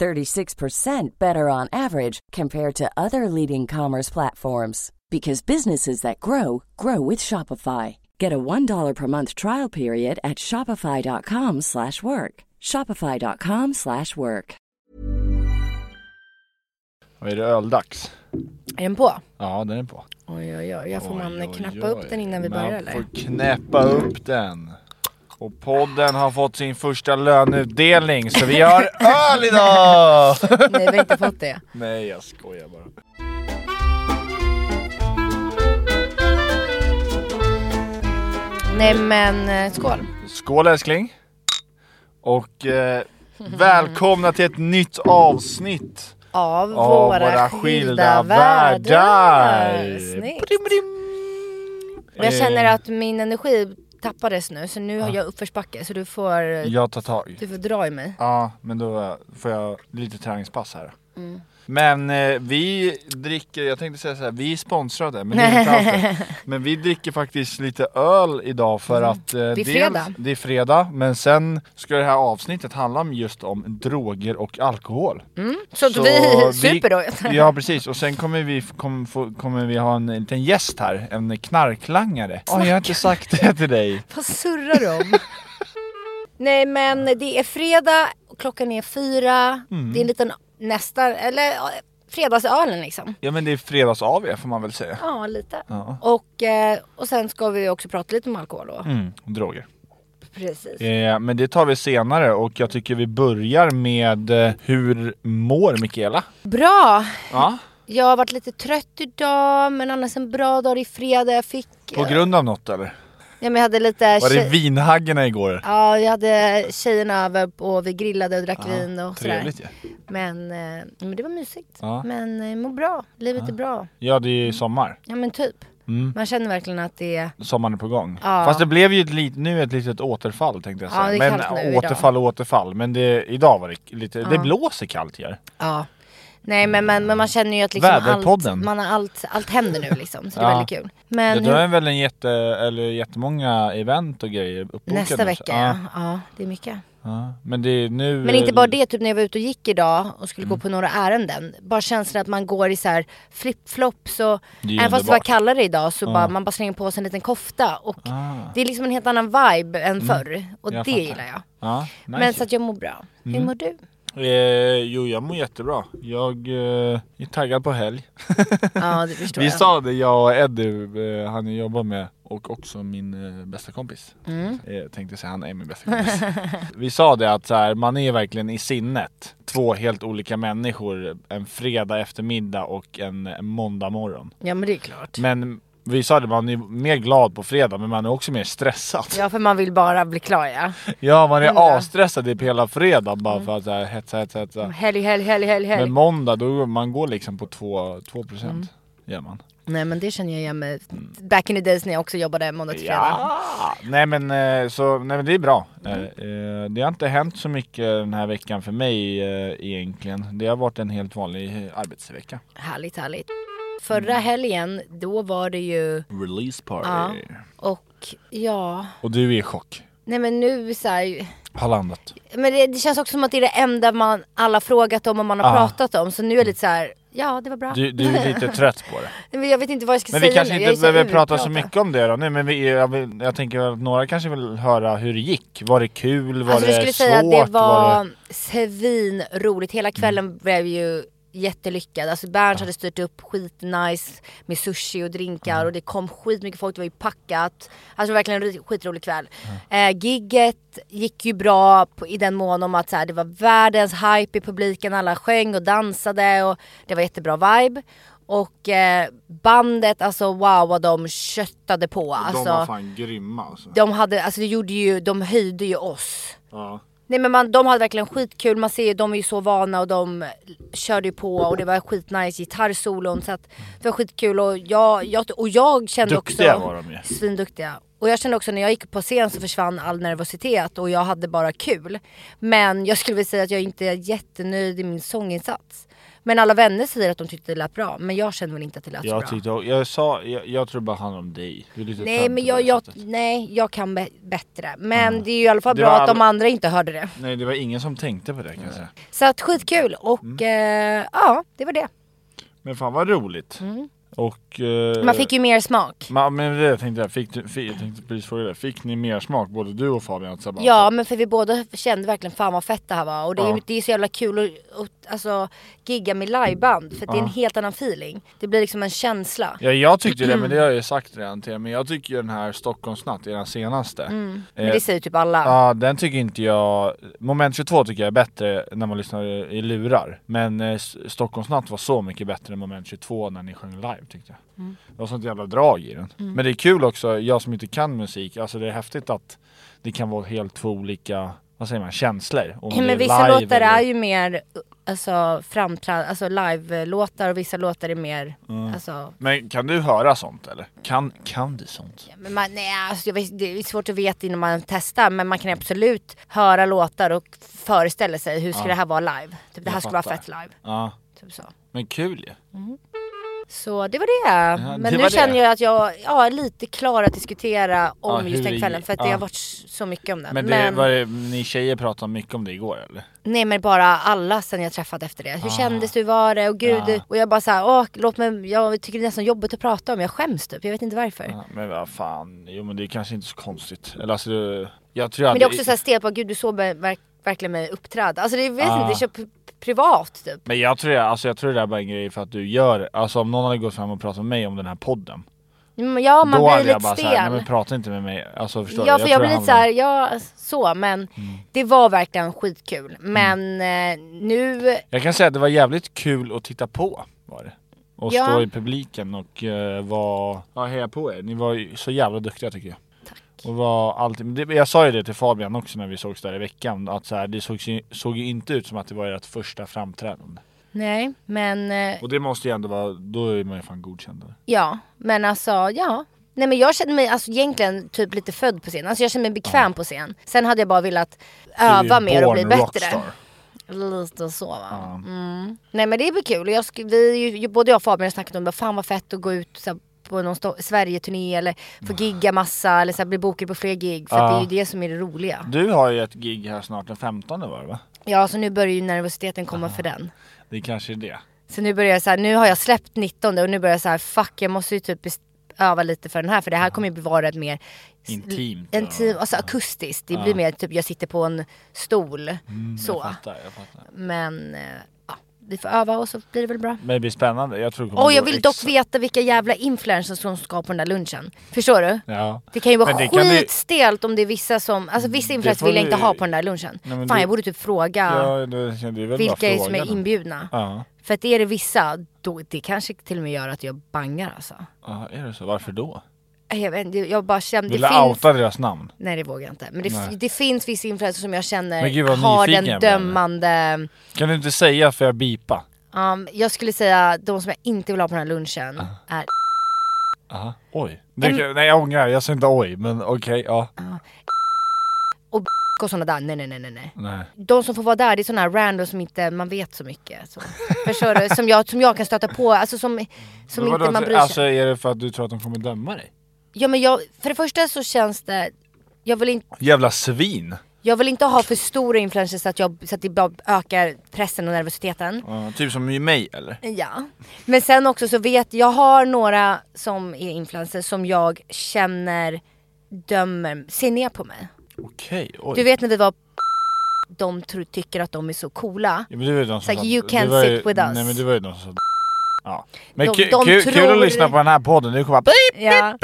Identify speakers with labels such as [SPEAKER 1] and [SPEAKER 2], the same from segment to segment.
[SPEAKER 1] 36% better on average compared to other leading commerce platforms because businesses that grow grow with Shopify. Get a $1 per month trial period at shopify.com/work. slash work. shopify.com/work. slash work.
[SPEAKER 2] Och är det öldags?
[SPEAKER 3] Är den på?
[SPEAKER 2] Ja, den är på.
[SPEAKER 3] Oj, oj, oj. Jag får
[SPEAKER 2] Oj,
[SPEAKER 3] man
[SPEAKER 2] oj,
[SPEAKER 3] knappa
[SPEAKER 2] oj.
[SPEAKER 3] upp den innan vi
[SPEAKER 2] Man
[SPEAKER 3] börjar eller?
[SPEAKER 2] får knäppa upp den. Och podden har fått sin första löneutdelning så vi har öl idag!
[SPEAKER 3] Nej, vi har inte fått det.
[SPEAKER 2] Nej jag skojar bara.
[SPEAKER 3] Nej, men eh, skål.
[SPEAKER 2] Skål älskling! Och eh, välkomna till ett nytt avsnitt
[SPEAKER 3] Av
[SPEAKER 2] av
[SPEAKER 3] våra, skilda världar. Snyggt.
[SPEAKER 2] Brim, brim.
[SPEAKER 3] Och Jag känner
[SPEAKER 2] Eh,
[SPEAKER 3] att min energi tappades nu, så nu har jag uppförsbacke. Så du får,
[SPEAKER 2] Jag tar tag.
[SPEAKER 3] du får dra i mig.
[SPEAKER 2] Ja, men då får jag lite träningspass här. Men eh, vi dricker, jag tänkte säga så här, vi är sponsrade men det är inte alls det. Men vi dricker faktiskt lite öl idag för att eh, det
[SPEAKER 3] fredag.
[SPEAKER 2] det är fredag men sen ska det här avsnittet handla om just om droger och alkohol.
[SPEAKER 3] Så, att vi super då.
[SPEAKER 2] Ja precis, och sen kommer vi, f- kom, få, kommer vi ha en liten gäst här, en knarklangare. Åh, jag har inte sagt det till dig.
[SPEAKER 3] Vad surrar du om? Nej men det är fredag, och klockan är fyra. Det är en liten nästa, eller ja, fredagsölen liksom.
[SPEAKER 2] Ja men det är fredags AW får man väl säga.
[SPEAKER 3] Ja lite.
[SPEAKER 2] Ja.
[SPEAKER 3] Och, eh, och sen ska vi också prata lite om alkohol då.
[SPEAKER 2] Mm, droger.
[SPEAKER 3] Precis.
[SPEAKER 2] Eh, men det tar vi senare och jag tycker vi börjar med eh, hur mår Mikaela?
[SPEAKER 3] Bra!
[SPEAKER 2] Ja.
[SPEAKER 3] Jag har varit lite trött idag men annars en bra dag i fredag. Jag fick...
[SPEAKER 2] På
[SPEAKER 3] eh,
[SPEAKER 2] grund av något eller?
[SPEAKER 3] Ja, men jag hade lite...
[SPEAKER 2] Var det
[SPEAKER 3] tjej-
[SPEAKER 2] vinhaggarna igår?
[SPEAKER 3] Ja, jag hade tjejerna över och vi grillade och drack vin och sådär.
[SPEAKER 2] Ah, Trevligt ju. Ja.
[SPEAKER 3] Men, eh, men det var mysigt.
[SPEAKER 2] Ja.
[SPEAKER 3] Men eh, mår bra, livet är bra.
[SPEAKER 2] det är ju sommar.
[SPEAKER 3] Ja men typ.
[SPEAKER 2] Mm.
[SPEAKER 3] Man känner verkligen att det är...
[SPEAKER 2] Sommaren är på gång.
[SPEAKER 3] Ja.
[SPEAKER 2] Fast det blev ju ett lit, nu ett litet återfall tänkte jag
[SPEAKER 3] Ja,
[SPEAKER 2] säga.
[SPEAKER 3] det är
[SPEAKER 2] men
[SPEAKER 3] kallt nu idag.
[SPEAKER 2] återfall och återfall. Men det, idag var det lite, det blåser kallt här.
[SPEAKER 3] Ja. Nej men, men, men man känner ju att liksom
[SPEAKER 2] Väderpodden.
[SPEAKER 3] allt, man har allt, allt händer nu liksom. Så det är
[SPEAKER 2] Ja.
[SPEAKER 3] väldigt kul. Men
[SPEAKER 2] det
[SPEAKER 3] hur-
[SPEAKER 2] är väl en jätte, eller jättemånga event och grejer uppbokade.
[SPEAKER 3] nästa
[SPEAKER 2] nu.
[SPEAKER 3] vecka, ja. ja. Det är mycket.
[SPEAKER 2] ja. Men det är nu...
[SPEAKER 3] Men inte bara det, typ när jag var ute och gick idag och
[SPEAKER 2] Mm.
[SPEAKER 3] skulle gå på några ärenden. Bara känslan att man går i så här flipflops och
[SPEAKER 2] Det är
[SPEAKER 3] även fast det var
[SPEAKER 2] underbart. Ah.
[SPEAKER 3] kallare idag så bara man bara slänger på sig en liten kofta och det är liksom en helt annan vibe än förr. Och
[SPEAKER 2] Mm. Jag
[SPEAKER 3] det
[SPEAKER 2] fattar.
[SPEAKER 3] gillar jag.
[SPEAKER 2] Ja, nice. Mm.
[SPEAKER 3] Men så att jag mår bra. Hur mår du?
[SPEAKER 2] Eh, jo, jag mår jättebra. Jag eh, är taggad på helg.
[SPEAKER 3] Ja det förstår
[SPEAKER 2] Vi
[SPEAKER 3] jag.
[SPEAKER 2] sa det, jag och Eddie, eh, han jag jobbar med, och också min eh, bästa kompis.
[SPEAKER 3] Mm.
[SPEAKER 2] Eh, tänkte säga, han är min bästa kompis. Vi sa det att så här, man är verkligen i sinnet två helt olika människor en fredag eftermiddag och en, en måndag morgon.
[SPEAKER 3] Ja men det är klart.
[SPEAKER 2] Men vi sa det, man är mer glad på fredag men man är också mer stressad.
[SPEAKER 3] Ja för man vill bara bli klar ja. Mm.
[SPEAKER 2] Ja, man
[SPEAKER 3] Hundra.
[SPEAKER 2] är asstressad typ hela fredag bara för att så här, hetsa, hetsa, hetsa.
[SPEAKER 3] Helg, helg, helg, helg, helg.
[SPEAKER 2] Men måndag, då man går liksom på 2
[SPEAKER 3] Mm.
[SPEAKER 2] procent. Gör man.
[SPEAKER 3] Nej men det känner jag igen mig.
[SPEAKER 2] Mm.
[SPEAKER 3] Back in the days när jag också jobbade måndag till fredag.
[SPEAKER 2] Nej men, eh, så, nej men det är bra. Eh,
[SPEAKER 3] Mm.
[SPEAKER 2] eh, Det har inte hänt så mycket den här veckan för mig eh, egentligen. Det har varit en helt vanlig eh, arbetsvecka.
[SPEAKER 3] Härligt, härligt. Förra
[SPEAKER 2] Mm.
[SPEAKER 3] helgen, då var det ju...
[SPEAKER 2] Release
[SPEAKER 3] Ja.
[SPEAKER 2] party.
[SPEAKER 3] Och ja...
[SPEAKER 2] Och du är i chock.
[SPEAKER 3] Nej men nu så här,
[SPEAKER 2] Har landat.
[SPEAKER 3] men det, det känns också som att det är det enda man alla frågat om och man har
[SPEAKER 2] Ja.
[SPEAKER 3] pratat om. Så nu är jag lite så här, ja det var bra.
[SPEAKER 2] Ah. Du, du är lite trött på det.
[SPEAKER 3] Nej, men jag vet inte vad jag ska
[SPEAKER 2] Men
[SPEAKER 3] säga
[SPEAKER 2] vi kanske
[SPEAKER 3] nu. Jag är
[SPEAKER 2] inte
[SPEAKER 3] så
[SPEAKER 2] behöver
[SPEAKER 3] urpratad.
[SPEAKER 2] prata så mycket om det då nu, men vi, jag, vill, jag tänker att några kanske vill höra hur det gick. Var det kul? Var
[SPEAKER 3] Alltså
[SPEAKER 2] det
[SPEAKER 3] jag skulle
[SPEAKER 2] svårt?
[SPEAKER 3] säga att det
[SPEAKER 2] var
[SPEAKER 3] var, svinroligt. Hela kvällen blev ju jättelyckad. Alltså Berns hade styrt upp skitnice med sushi och drinkar och det kom skitmycket folk. Det var ju packat. Alltså det var verkligen en ri- skitrolig kväll. Eh, gigget gick ju bra på, i den mån om att så här, det var världens hype i publiken. Alla sjöng och dansade och det var jättebra vibe. Och eh, bandet, alltså wow vad de köttade på. Alltså,
[SPEAKER 2] fan grymma alltså.
[SPEAKER 3] de hade, alltså det gjorde ju, de höjde ju oss.
[SPEAKER 2] Ja.
[SPEAKER 3] Nej men man, de hade verkligen skitkul, man ser ju, de är ju så vana och de körde ju på och det var skitnice gitarrsolon så att det var skitkul och jag, jag, och jag kände
[SPEAKER 2] Duktiga
[SPEAKER 3] också
[SPEAKER 2] var de ju.
[SPEAKER 3] svinduktiga. Och jag kände också när jag gick på scen så försvann all nervositet och jag hade bara kul. Men jag skulle vilja säga att jag inte är jättenöjd i min sånginsats. Men alla vänner säger att de tyckte det lät bra, men jag kände väl inte att det lät så bra.
[SPEAKER 2] Jag, tyckte, jag, sa, jag, jag tror bara handlar om dig. Du är lite
[SPEAKER 3] Nej
[SPEAKER 2] tönt
[SPEAKER 3] men
[SPEAKER 2] på
[SPEAKER 3] jag,
[SPEAKER 2] det
[SPEAKER 3] jag,
[SPEAKER 2] sättet.
[SPEAKER 3] nej, jag kan bä- bättre. Men det är ju i alla fall
[SPEAKER 2] Mm. Det
[SPEAKER 3] bra
[SPEAKER 2] var
[SPEAKER 3] att de
[SPEAKER 2] all-
[SPEAKER 3] andra inte hörde det.
[SPEAKER 2] Nej det var ingen som tänkte på det kan jag säga.
[SPEAKER 3] Så att skitkul och
[SPEAKER 2] Mm.
[SPEAKER 3] eh, ja, det var det.
[SPEAKER 2] Men fan vad roligt. Och... eh,
[SPEAKER 3] Mm. Man fick ju mer smak.
[SPEAKER 2] Man, men det tänkte jag, fick, du, fick, jag tänkte precis fråga det. Fick ni mer smak både du och Fabian? Att så här bara,
[SPEAKER 3] Ja men för vi båda kände verkligen fan vad fett det här var och det är,
[SPEAKER 2] Mm. Ja.
[SPEAKER 3] det är så jävla kul att, att alltså, gigga med liveband för det är en helt annan feeling. Det blir liksom en känsla.
[SPEAKER 2] Ja jag tyckte
[SPEAKER 3] Mm.
[SPEAKER 2] det men det har jag ju sagt redan till er. Men jag tycker ju den här Stockholmsnatt, är den senaste.
[SPEAKER 3] Mm.
[SPEAKER 2] Eh,
[SPEAKER 3] Men det säger typ alla.
[SPEAKER 2] Ja den tycker inte jag, moment 22 tycker jag är bättre när man lyssnar i i lurar. Men eh, S- Stockholmsnatt var så mycket bättre än moment 22 när ni sjöng live tyckte jag.
[SPEAKER 3] Mm.
[SPEAKER 2] Det var sånt jävla drag i den. Men det är kul också, jag som inte kan musik, alltså det är häftigt att det kan vara helt två olika, vad säger man, känslor. Om det
[SPEAKER 3] men
[SPEAKER 2] är
[SPEAKER 3] vissa
[SPEAKER 2] live
[SPEAKER 3] låtar
[SPEAKER 2] eller-
[SPEAKER 3] är ju mer alltså, framträd, alltså live-låtar och vissa låtar är mer
[SPEAKER 2] Mm.
[SPEAKER 3] alltså,
[SPEAKER 2] Men kan du höra sånt eller? Kan, kan du sånt?
[SPEAKER 3] Men man, nej, alltså, jag vet, det är svårt att veta innan man testar men man kan absolut höra låtar och föreställa sig hur ska det här vara live. Typ, det
[SPEAKER 2] Jag
[SPEAKER 3] här skulle vara
[SPEAKER 2] fattar.
[SPEAKER 3] fett live.
[SPEAKER 2] Ja,
[SPEAKER 3] Typ så.
[SPEAKER 2] men kul ju.
[SPEAKER 3] så det var det.
[SPEAKER 2] Ja,
[SPEAKER 3] men
[SPEAKER 2] det
[SPEAKER 3] nu
[SPEAKER 2] var det.
[SPEAKER 3] känner jag att jag ja, är lite klar att diskutera om
[SPEAKER 2] Ja,
[SPEAKER 3] just
[SPEAKER 2] hur
[SPEAKER 3] den
[SPEAKER 2] det-
[SPEAKER 3] kvällen för att det
[SPEAKER 2] ja.
[SPEAKER 3] har varit så mycket om den.
[SPEAKER 2] Men,
[SPEAKER 3] Men
[SPEAKER 2] det, Var det, ni tjejer pratade mycket om det igår eller?
[SPEAKER 3] Nej men bara alla sen jag träffat efter det. Hur kändes du, hur var det och gud.
[SPEAKER 2] Ah. Ja.
[SPEAKER 3] Och jag bara såhär, åh låt mig, jag tycker det är nästan jobbigt att prata om, jag skäms typ, jag vet inte varför.
[SPEAKER 2] Ja, men vad fan, jo men det är kanske inte så konstigt. Eller alltså, det- jag tror jag
[SPEAKER 3] Men det
[SPEAKER 2] hade-
[SPEAKER 3] är också såhär stelt, bara, gud du såg mig- verk, verkligen mig uppträda. Alltså det vet
[SPEAKER 2] Ah.
[SPEAKER 3] inte, det är så p- privat typ.
[SPEAKER 2] Men jag tror, jag, alltså jag tror det där bara är en grej för att du gör Alltså om någon hade gått fram och pratat med mig om den här podden
[SPEAKER 3] Mm, Ja man
[SPEAKER 2] Då
[SPEAKER 3] blir
[SPEAKER 2] hade
[SPEAKER 3] lite
[SPEAKER 2] jag bara såhär, nej men
[SPEAKER 3] stel.
[SPEAKER 2] prata inte med mig Alltså förstår
[SPEAKER 3] Ja
[SPEAKER 2] du?
[SPEAKER 3] för jag
[SPEAKER 2] tror Mm.
[SPEAKER 3] blir
[SPEAKER 2] det
[SPEAKER 3] lite
[SPEAKER 2] handlar om-
[SPEAKER 3] såhär, ja så men det var verkligen skitkul.
[SPEAKER 2] Mm.
[SPEAKER 3] Men eh, nu,
[SPEAKER 2] Jag kan säga att det var jävligt kul att titta på var det. Och
[SPEAKER 3] Ja.
[SPEAKER 2] stå i publiken och eh, vara, ja heja på er. Ni var ju så jävla duktiga tycker jag. Tack. Och var alltid, men det, jag sa ju det till Fabian också när vi sågs där i veckan, att så här, det såg, såg ju inte ut som att det var ert första framträdande.
[SPEAKER 3] nej men eh,
[SPEAKER 2] Och det måste ju ändå vara, då är man ju fan godkänd. eller?
[SPEAKER 3] ja. Men alltså ja. Nej men jag känner mig alltså, egentligen typ lite född på scen. Alltså jag känner mig bekväm på scen. Sen hade jag bara velat
[SPEAKER 2] Du är
[SPEAKER 3] öva
[SPEAKER 2] ju
[SPEAKER 3] mer och bli
[SPEAKER 2] born
[SPEAKER 3] bättre.
[SPEAKER 2] rockstar.
[SPEAKER 3] Lite så va.
[SPEAKER 2] Ja.
[SPEAKER 3] Mm. Nej men det blir kul. Jag sk- vi, ju- ju- både jag och Fabian har snackat om det. Fan vad fett att gå ut så här, på någon sto- Sverige-turné eller få gigga massa eller så här, bli bokad på fler gig. För att det är
[SPEAKER 2] Mm. Ja.
[SPEAKER 3] ju det som är det roliga.
[SPEAKER 2] Du har ju ett gig här snart den 15 var det va?
[SPEAKER 3] Ja så nu börjar ju nervositeten komma
[SPEAKER 2] Ah.
[SPEAKER 3] för den.
[SPEAKER 2] Det kanske är det.
[SPEAKER 3] Så nu börjar jag så här, nu har jag släppt 19 och nu börjar jag så här, fuck jag måste ju typ best- öva lite för den här för det här kommer ju vara ett mer
[SPEAKER 2] Ah. Intimt. Ah.
[SPEAKER 3] intimt, alltså akustiskt. Det blir mer typ jag sitter på en stol. så.
[SPEAKER 2] Mm, Jag fattar, jag fattar.
[SPEAKER 3] Men eh, ja, vi får öva och så blir det väl bra.
[SPEAKER 2] Men det blir spännande. Jag tror det kommer
[SPEAKER 3] Och jag
[SPEAKER 2] gå
[SPEAKER 3] vill
[SPEAKER 2] ex-
[SPEAKER 3] dock veta vilka jävla influencers som ska på den där lunchen. Förstår du?
[SPEAKER 2] Ja.
[SPEAKER 3] Det kan ju vara
[SPEAKER 2] Men det kan vi-
[SPEAKER 3] skitstelt om det är vissa som, alltså vissa influencers
[SPEAKER 2] får
[SPEAKER 3] vill jag
[SPEAKER 2] vi-
[SPEAKER 3] inte ha på den där lunchen.
[SPEAKER 2] Nej, men
[SPEAKER 3] Fan
[SPEAKER 2] det-
[SPEAKER 3] jag borde typ fråga
[SPEAKER 2] Ja, det kände ju väl
[SPEAKER 3] vilka
[SPEAKER 2] bara
[SPEAKER 3] är som är
[SPEAKER 2] frågan.
[SPEAKER 3] inbjudna.
[SPEAKER 2] Ja.
[SPEAKER 3] För att är det vissa, då, det kanske till och med gör att jag bangar alltså.
[SPEAKER 2] ja, är det så? Varför då?
[SPEAKER 3] Nej, Eh, Jag, vet, inte, jag bara känner, det
[SPEAKER 2] Vill du
[SPEAKER 3] finns...
[SPEAKER 2] outa deras namn?
[SPEAKER 3] Nej det vågar jag inte. Men det,
[SPEAKER 2] Nej.
[SPEAKER 3] det finns vissa influencers som jag känner
[SPEAKER 2] Men gud, vad
[SPEAKER 3] har
[SPEAKER 2] nyfiken
[SPEAKER 3] den
[SPEAKER 2] jag blev nu.
[SPEAKER 3] dömande...
[SPEAKER 2] Kan du inte säga för jag bipa?
[SPEAKER 3] Um, jag skulle säga de som jag inte vill ha på den här lunchen
[SPEAKER 2] Ah.
[SPEAKER 3] är
[SPEAKER 2] Aha. Oj. Det, kan- Nej jag ångrar, jag sa inte oj men okej, ja.
[SPEAKER 3] och och sådana där. Nej nej nej nej, nej.
[SPEAKER 2] Nej.
[SPEAKER 3] De som får vara där det är sådana här randos som inte man vet så mycket. Så. Förstår du? Som jag, som jag kan stöta på, alltså som, som
[SPEAKER 2] Men vadå,
[SPEAKER 3] inte man bryr sig.
[SPEAKER 2] Alltså är det för att du tror att de kommer döma dig?
[SPEAKER 3] Ja men jag, för det första så känns det, jag vill, in,
[SPEAKER 2] Jävla svin!
[SPEAKER 3] jag vill inte ha för stora influencers så att, jag, så att det bara ökar pressen och nervositeten.
[SPEAKER 2] Ja, typ som ju mig eller?
[SPEAKER 3] Ja. Men sen också så vet jag, har några som är influencers som jag känner dömer, ser ner på mig.
[SPEAKER 2] Okej, oj.
[SPEAKER 3] Du vet när vi var de tro, tycker att de är så coola.
[SPEAKER 2] Ja, men det var ju de som
[SPEAKER 3] It's like,
[SPEAKER 2] sa-
[SPEAKER 3] you
[SPEAKER 2] det
[SPEAKER 3] can't
[SPEAKER 2] var ju,
[SPEAKER 3] sit with us.
[SPEAKER 2] Nej men det var ju de som sa Ja. Men
[SPEAKER 3] De-
[SPEAKER 2] ku-
[SPEAKER 3] de
[SPEAKER 2] ku- kul
[SPEAKER 3] tror-
[SPEAKER 2] att lyssna på den här podden, nu kommer bara
[SPEAKER 3] Ja.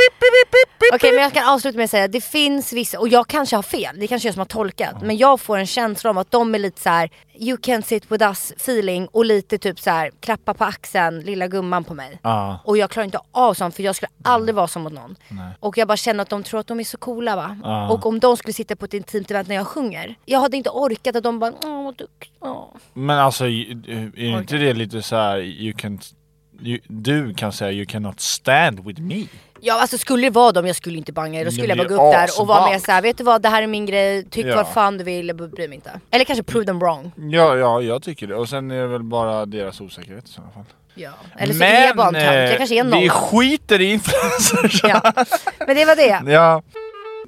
[SPEAKER 3] Okej men jag kan avsluta med att säga att det finns vissa, och jag kanske har fel, det kanske är jag som har tolkat, men jag får en känsla om att de är lite så här: you can't sit with us feeling och lite typ så här klappa på axeln, lilla gumman på mig.
[SPEAKER 2] Ja.
[SPEAKER 3] Och jag klarar inte av sånt för jag skulle aldrig vara så mot någon.
[SPEAKER 2] Nej.
[SPEAKER 3] Och jag bara känner att de tror att de är så coola va.
[SPEAKER 2] Ja.
[SPEAKER 3] Och om de skulle sitta på ett intimt event när jag sjunger. Jag hade inte orkat att de bara åh vad duktig. åh."
[SPEAKER 2] Men alltså, ju- är inte det lite så här, you can, you, du kan säga you cannot stand with me?
[SPEAKER 3] Ja alltså skulle det vara dem, jag skulle inte banga er. Då
[SPEAKER 2] Det
[SPEAKER 3] skulle jag bara
[SPEAKER 2] blir
[SPEAKER 3] gå upp där och
[SPEAKER 2] asballt.
[SPEAKER 3] vara med såhär, vet du vad det här är min grej, tyck
[SPEAKER 2] Ja.
[SPEAKER 3] vad fan du vill, jag bryr mig inte. Eller kanske prove them wrong.
[SPEAKER 2] Ja, ja, jag tycker det. Och sen är det väl bara deras osäkerhet i sådana fall.
[SPEAKER 3] Ja. Eller så är jag bara en tönt, jag kanske är en
[SPEAKER 2] eh, vi
[SPEAKER 3] nolla.
[SPEAKER 2] skiter i influencers!
[SPEAKER 3] Ja. Men det var det.
[SPEAKER 2] Ja.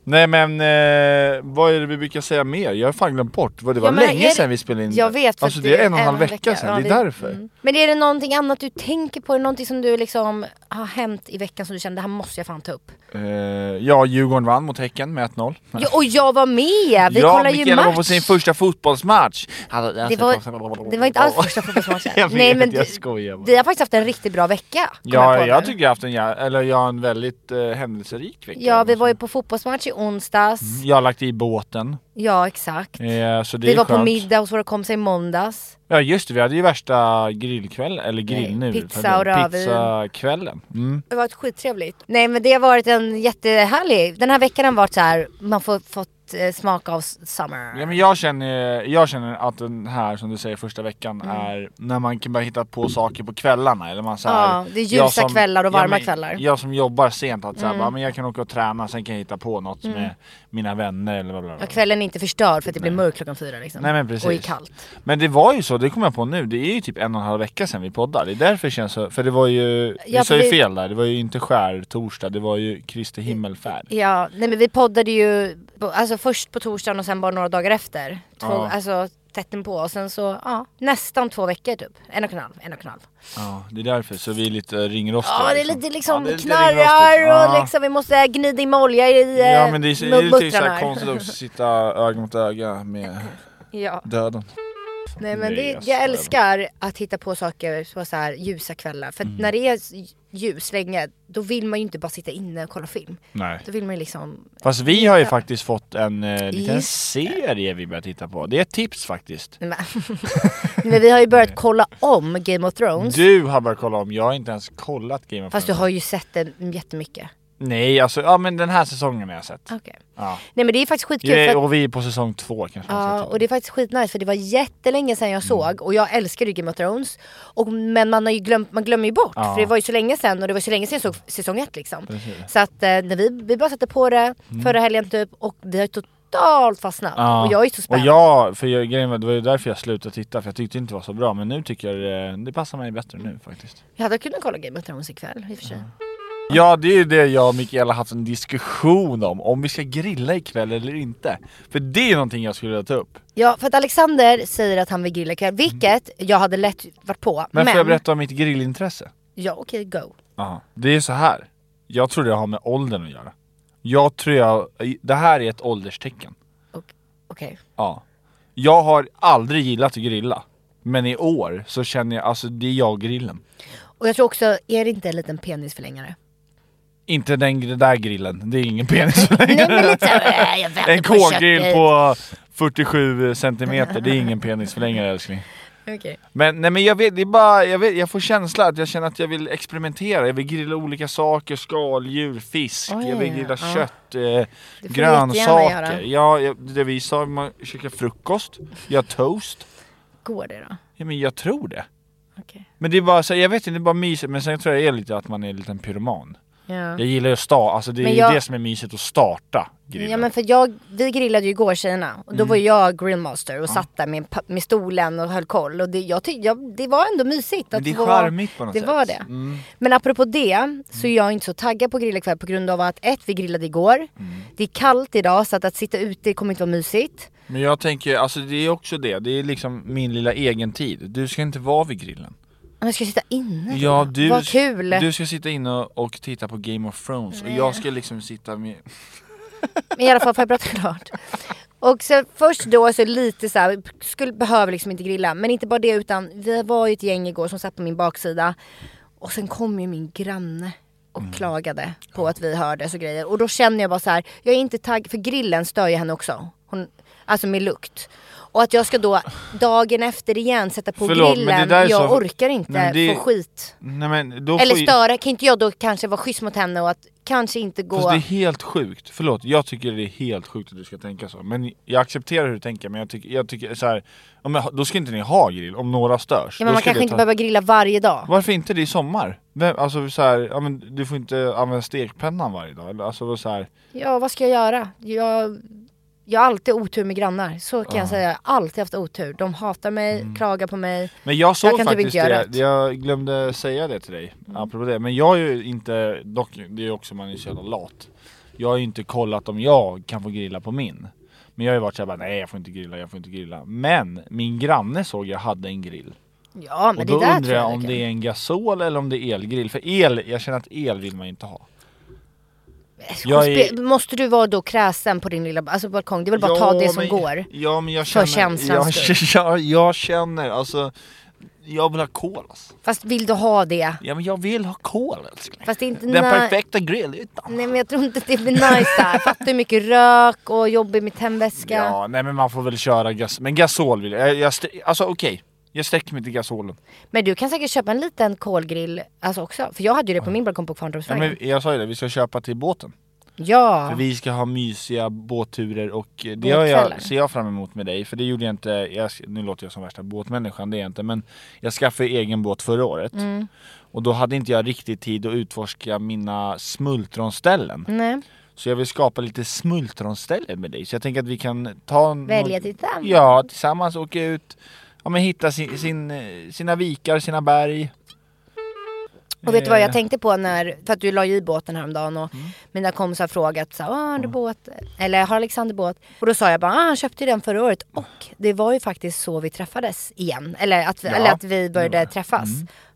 [SPEAKER 2] Nej men eh, vad är det vi brukar säga mer? Jag har fan glömt bort. vad- Det var
[SPEAKER 3] Ja, men
[SPEAKER 2] länge
[SPEAKER 3] är det-
[SPEAKER 2] sedan vi spelade in
[SPEAKER 3] Jag vet, för
[SPEAKER 2] Alltså
[SPEAKER 3] att
[SPEAKER 2] det är en och en halv vecka, sedan,
[SPEAKER 3] Ja,
[SPEAKER 2] det är
[SPEAKER 3] vi-
[SPEAKER 2] därför.
[SPEAKER 3] Men är det mm. någonting annat du tänker på? Är det någonting som du liksom har hänt i veckan som du kände, det här måste jag fan ta upp?
[SPEAKER 2] Eh, ja, Djurgården vann mot Häcken med 1-0.
[SPEAKER 3] Ja, och jag var med! Vi
[SPEAKER 2] ja,
[SPEAKER 3] kollade ju
[SPEAKER 2] Mikaela var på
[SPEAKER 3] match!
[SPEAKER 2] sin första fotbollsmatch! Alltså,
[SPEAKER 3] Det var, det var inte alls första fotbollsmatchen.
[SPEAKER 2] jag vet,
[SPEAKER 3] Nej men
[SPEAKER 2] jag
[SPEAKER 3] du-
[SPEAKER 2] skojar bara.
[SPEAKER 3] vi har faktiskt haft en riktigt bra vecka. kom
[SPEAKER 2] Ja,
[SPEAKER 3] på
[SPEAKER 2] jag,
[SPEAKER 3] nu.
[SPEAKER 2] tycker jag har haft en, jä- eller jag har en väldigt eh, händelserik vecka. Alltså.
[SPEAKER 3] Ja, vi var ju på fotbollsmatch i onsdags.
[SPEAKER 2] Jag har lagt i båten.
[SPEAKER 3] Ja, exakt.
[SPEAKER 2] Eh, så Mm. det
[SPEAKER 3] vi
[SPEAKER 2] är
[SPEAKER 3] var
[SPEAKER 2] skönt.
[SPEAKER 3] på middag hos våra kompisar i måndags.
[SPEAKER 2] Ja just det, vi hade ju värsta grillkväll, eller grill nu.
[SPEAKER 3] pizza och rödvin.
[SPEAKER 2] Pizzakvällen. Mm.
[SPEAKER 3] Det var varit skittrevligt. Nej men det har varit en jättehärlig, den här veckan har varit så här, man får fått eh, smak av s- summer.
[SPEAKER 2] Ja, men jag, känner, jag känner att den här, som du säger, första veckan
[SPEAKER 3] Mm.
[SPEAKER 2] är när man kan börja hitta på saker på kvällarna. Eller man, så här,
[SPEAKER 3] Ja, det är ljusa
[SPEAKER 2] jag
[SPEAKER 3] kvällar och varma
[SPEAKER 2] men
[SPEAKER 3] kvällar. Mm.
[SPEAKER 2] Jag som jobbar sent, att så här, bara, men jag kan åka och träna, sen kan jag hitta på något med mina vänner eller bla bla bla.
[SPEAKER 3] Och kvällen är inte förstörd för att det blir mörkt klockan fyra liksom.
[SPEAKER 2] Nej, men precis.
[SPEAKER 3] Och är kallt.
[SPEAKER 2] Men det var ju så, det kommer jag på nu, det är ju typ en och en halv vecka sedan vi poddade. Det är därför det känns så, för det var ju,
[SPEAKER 3] Ja,
[SPEAKER 2] vi sa ju
[SPEAKER 3] för vi-
[SPEAKER 2] fel där, det var ju inte skär torsdag, det var ju Kristi himmelfärd.
[SPEAKER 3] Ja, nej men vi poddade ju på, alltså först på torsdagen och sen bara några dagar efter. Två,
[SPEAKER 2] Ja.
[SPEAKER 3] Alltså tätt inpå och sen så, ja, nästan två veckor typ. En och en halv, en och en halv.
[SPEAKER 2] Ja, det är därför. Så vi är lite ringrostiga.
[SPEAKER 3] Ja, det är
[SPEAKER 2] liksom.
[SPEAKER 3] lite liksom
[SPEAKER 2] Ja, det är lite
[SPEAKER 3] knarrar och
[SPEAKER 2] ringrostigt. Ja.
[SPEAKER 3] liksom vi måste gnida in med olja i eh,
[SPEAKER 2] Ja men det är, det
[SPEAKER 3] typ
[SPEAKER 2] är lite så här
[SPEAKER 3] muttrarna.
[SPEAKER 2] konstigt också att sitta öga mot öga med
[SPEAKER 3] Ja.
[SPEAKER 2] döden.
[SPEAKER 3] Nej men
[SPEAKER 2] Nej,
[SPEAKER 3] det,
[SPEAKER 2] jag
[SPEAKER 3] jag
[SPEAKER 2] skojar.
[SPEAKER 3] älskar att hitta på saker på så här ljusa kvällar. För att när det är s- ljus länge, då vill man ju inte bara sitta inne och kolla film.
[SPEAKER 2] Nej.
[SPEAKER 3] Då vill man ju liksom...
[SPEAKER 2] Fast vi har ju faktiskt fått en eh, liten
[SPEAKER 3] Just
[SPEAKER 2] serie vi börjar titta på. Det är ett tips faktiskt.
[SPEAKER 3] Nej, men- men vi har ju börjat kolla om Game of Thrones.
[SPEAKER 2] Du har börjat kolla om, jag har inte ens kollat Game of
[SPEAKER 3] Fast du
[SPEAKER 2] Thrones.
[SPEAKER 3] har ju sett den jättemycket.
[SPEAKER 2] Nej alltså, ja men den här säsongen har jag sett.
[SPEAKER 3] Okej.
[SPEAKER 2] Ja.
[SPEAKER 3] Nej men det är faktiskt skitkul.
[SPEAKER 2] Det-
[SPEAKER 3] Ah. för att,
[SPEAKER 2] Och vi är på säsong två kanske. man ska
[SPEAKER 3] ja,
[SPEAKER 2] ta.
[SPEAKER 3] och det är faktiskt skitnice för det var jättelänge sedan
[SPEAKER 2] Mm.
[SPEAKER 3] jag såg och jag älskar ju Game of Thrones. Och, men man, har ju glömt, man glömmer ju bort
[SPEAKER 2] Ja.
[SPEAKER 3] för det var ju så länge sedan och det var så länge sedan jag såg säsong ett liksom. Så att eh, när vi, vi bara satte på det förra helgen typ och vi har ju totalt fastnat.
[SPEAKER 2] Mm. Ja.
[SPEAKER 3] Och jag är så spänd.
[SPEAKER 2] Och jag, för jag, grejen var, det var ju därför jag slutade titta för jag tyckte inte det var så bra men nu tycker jag eh, det passar mig bättre nu faktiskt.
[SPEAKER 3] jag hade kunnat kolla Game of Thrones ikväll i och för sig.
[SPEAKER 2] Ja det är ju det jag och Mikaela haft en diskussion om, om vi ska grilla ikväll eller inte. För det är någonting jag skulle vilja ta upp.
[SPEAKER 3] Ja för att Alexander säger att han vill grilla ikväll, vilket jag hade lätt varit på.
[SPEAKER 2] Men, får jag berätta om mitt grillintresse?
[SPEAKER 3] Ja okej, go.
[SPEAKER 2] Ja. Det är så här. jag tror det har med åldern att göra. Jag tror jag, det här är ett ålderstecken.
[SPEAKER 3] Och- Okej.
[SPEAKER 2] Ja. Jag har aldrig gillat att grilla. Men i år så känner jag, alltså det är jag och grillen.
[SPEAKER 3] Och jag tror också, är det inte en liten penisförlängare?
[SPEAKER 2] Inte den den där grillen, det är ingen penis
[SPEAKER 3] Nej men lite såhär, jag väntar
[SPEAKER 2] En
[SPEAKER 3] på
[SPEAKER 2] kolgrill
[SPEAKER 3] köttet.
[SPEAKER 2] på 47 centimeter, det är ingen penisförlängare älskling.
[SPEAKER 3] Okej.
[SPEAKER 2] Men nej men jag vet, det är bara, jag, vet, jag får känsla att jag känner att jag vill experimentera. Jag vill grilla olika saker, skaldjur, fisk,
[SPEAKER 3] Oj,
[SPEAKER 2] jag vill grilla
[SPEAKER 3] ja.
[SPEAKER 2] kött, eh,
[SPEAKER 3] du jättegärna
[SPEAKER 2] grönsaker.
[SPEAKER 3] göra.
[SPEAKER 2] Ja, jag, det vi sa, man käkar frukost, gör toast.
[SPEAKER 3] Går det då?
[SPEAKER 2] Ja men jag tror det.
[SPEAKER 3] Okej.
[SPEAKER 2] Men det är bara så, jag vet inte, det är bara mysigt. Men sen tror jag det är lite att man är en liten pyroman.
[SPEAKER 3] Ja.
[SPEAKER 2] Jag gillar ju att starta, alltså det är
[SPEAKER 3] Men
[SPEAKER 2] ju
[SPEAKER 3] jag-
[SPEAKER 2] det som är mysigt att starta grillen.
[SPEAKER 3] Ja men för jag, vi grillade ju igår tjejerna
[SPEAKER 2] Mm.
[SPEAKER 3] och då var jag grillmaster och satt där med, pa- med stolen och höll koll och det, jag tyck, jag, det var ändå mysigt.
[SPEAKER 2] Men det är
[SPEAKER 3] få-
[SPEAKER 2] charmigt på något
[SPEAKER 3] det
[SPEAKER 2] sätt.
[SPEAKER 3] var det.
[SPEAKER 2] Mm.
[SPEAKER 3] Men apropå det så är jag inte så taggad på grilla ikväll på grund av att ett, vi grillade igår,
[SPEAKER 2] Mm.
[SPEAKER 3] det är kallt idag så att, att sitta ute kommer inte vara mysigt.
[SPEAKER 2] Men jag tänker, alltså det är också det, det är liksom min lilla egen tid. Du ska inte vara vid grillen.
[SPEAKER 3] Men ska jag sitta inne?
[SPEAKER 2] Ja,
[SPEAKER 3] då?
[SPEAKER 2] du,
[SPEAKER 3] Vad kul!
[SPEAKER 2] du ska sitta inne och, och titta på Game of Thrones och jag ska liksom sitta med...
[SPEAKER 3] Men i alla fall får jag prata klart. Och så först då så lite så här, skulle, behöver liksom inte grilla. Men inte bara det utan vi var ju ett gäng igår som satt på min baksida. Och sen kom ju min granne och
[SPEAKER 2] Mm.
[SPEAKER 3] klagade på att vi hördes och grejer. Och då känner jag bara så här, jag är inte tagg, för grillen stör ju henne också. Hon, alltså med lukt. Och att jag ska då dagen efter igen sätta på
[SPEAKER 2] Förlåt, men det
[SPEAKER 3] grillen.
[SPEAKER 2] där är
[SPEAKER 3] Jag
[SPEAKER 2] så-
[SPEAKER 3] orkar inte
[SPEAKER 2] Nej, men det-
[SPEAKER 3] få skit.
[SPEAKER 2] Nej men då
[SPEAKER 3] Eller
[SPEAKER 2] får ju-
[SPEAKER 3] störa, kan inte jag då kanske vara schysst mot henne och att kanske inte gå...
[SPEAKER 2] Fast det är helt sjukt. Förlåt, jag tycker det är helt sjukt att du ska tänka så. Men jag accepterar hur du tänker, men jag tycker, jag tycker så här, ja, men då ska inte ni ha grill om några störs.
[SPEAKER 3] ja, men
[SPEAKER 2] Då
[SPEAKER 3] man
[SPEAKER 2] ska
[SPEAKER 3] kanske
[SPEAKER 2] det
[SPEAKER 3] inte
[SPEAKER 2] ta-
[SPEAKER 3] behöver grilla varje dag.
[SPEAKER 2] Varför inte det i sommar? Vem, alltså så här, ja, men du får inte använda stekpennan varje dag. eller? Alltså så här,
[SPEAKER 3] Ja, vad ska jag göra? Jag, jag har alltid otur med grannar, så kan jag säga. Jag har alltid haft otur. De hatar mig,
[SPEAKER 2] Mm.
[SPEAKER 3] klagar på mig.
[SPEAKER 2] Men jag såg
[SPEAKER 3] Jag kan typ
[SPEAKER 2] faktiskt
[SPEAKER 3] inte göra Mm.
[SPEAKER 2] det, jag glömde säga det till dig, apropå det. Men jag är ju inte, dock, det är ju också man är så jävla lat. Jag har ju inte kollat om jag kan få grilla på min. Men jag har ju varit såhär bara, nej jag får inte grilla, jag får inte grilla. Men min granne såg jag hade en grill.
[SPEAKER 3] Ja, men
[SPEAKER 2] Och
[SPEAKER 3] det
[SPEAKER 2] då
[SPEAKER 3] där
[SPEAKER 2] undrar
[SPEAKER 3] tror
[SPEAKER 2] jag
[SPEAKER 3] jag
[SPEAKER 2] om
[SPEAKER 3] kan-
[SPEAKER 2] det är en gasol eller om det är elgrill. För el, jag känner att el vill man inte ha. Jag
[SPEAKER 3] Spe-
[SPEAKER 2] är-
[SPEAKER 3] Måste du vara då kräsen på din lilla alltså balkong? Det är väl bara att ta det som
[SPEAKER 2] men-
[SPEAKER 3] går?
[SPEAKER 2] Ja men jag
[SPEAKER 3] För
[SPEAKER 2] känner, jag,
[SPEAKER 3] känslans
[SPEAKER 2] jag, jag känner alltså, jag vill ha kol alltså.
[SPEAKER 3] Fast vill du ha det?
[SPEAKER 2] Ja men jag vill ha kol älskling.
[SPEAKER 3] Fast det är inte
[SPEAKER 2] Den
[SPEAKER 3] na-
[SPEAKER 2] perfekta grillytan.
[SPEAKER 3] Nej men jag tror inte att det blir nice där. Fattar hur mycket rök och jobbig med tändväska.
[SPEAKER 2] Ja, nej men man får väl köra gas... Men gasol vill jag. jag, jag st- alltså okej, jag sträcker mig till gasolen.
[SPEAKER 3] Men du kan säkert köpa en liten kolgrill alltså också. För jag hade ju det på min balkong på
[SPEAKER 2] Ja,
[SPEAKER 3] Kvarntorpsvägen.
[SPEAKER 2] men jag sa ju det, vi ska köpa till båten.
[SPEAKER 3] Ja,
[SPEAKER 2] För vi ska ha mysiga båtturer och eh, det har jag,
[SPEAKER 3] Båtkvällar.
[SPEAKER 2] ser jag fram emot med dig. För det gjorde jag inte, jag, nu låter jag som värsta båtmänniskan, det är jag inte. Men jag skaffade ju egen båt förra året.
[SPEAKER 3] Mm.
[SPEAKER 2] Och då hade inte jag riktigt tid att utforska mina smultronställen.
[SPEAKER 3] nej.
[SPEAKER 2] Så jag vill skapa lite smultronställen med dig. Så jag tänker att vi kan ta... en-
[SPEAKER 3] Välja
[SPEAKER 2] något-
[SPEAKER 3] tillsammans.
[SPEAKER 2] Mm. Ja, tillsammans åka ut. Ja men hitta sin, sin, eh, sina vikar, sina berg.
[SPEAKER 3] Och vet du vad jag
[SPEAKER 2] Eh, Mm.
[SPEAKER 3] tänkte på när, för att du la ju i båten häromdagen och mina kompisar har frågat så här, "Ah, har du båt? Eller har Alexander båt? Och då sa jag bara, ah, han köpte ju den förra året
[SPEAKER 2] Mm.
[SPEAKER 3] och det var ju faktiskt så vi träffades igen. Eller att vi,
[SPEAKER 2] Ja, Mm.
[SPEAKER 3] eller att vi
[SPEAKER 2] det var
[SPEAKER 3] började
[SPEAKER 2] det.
[SPEAKER 3] träffas.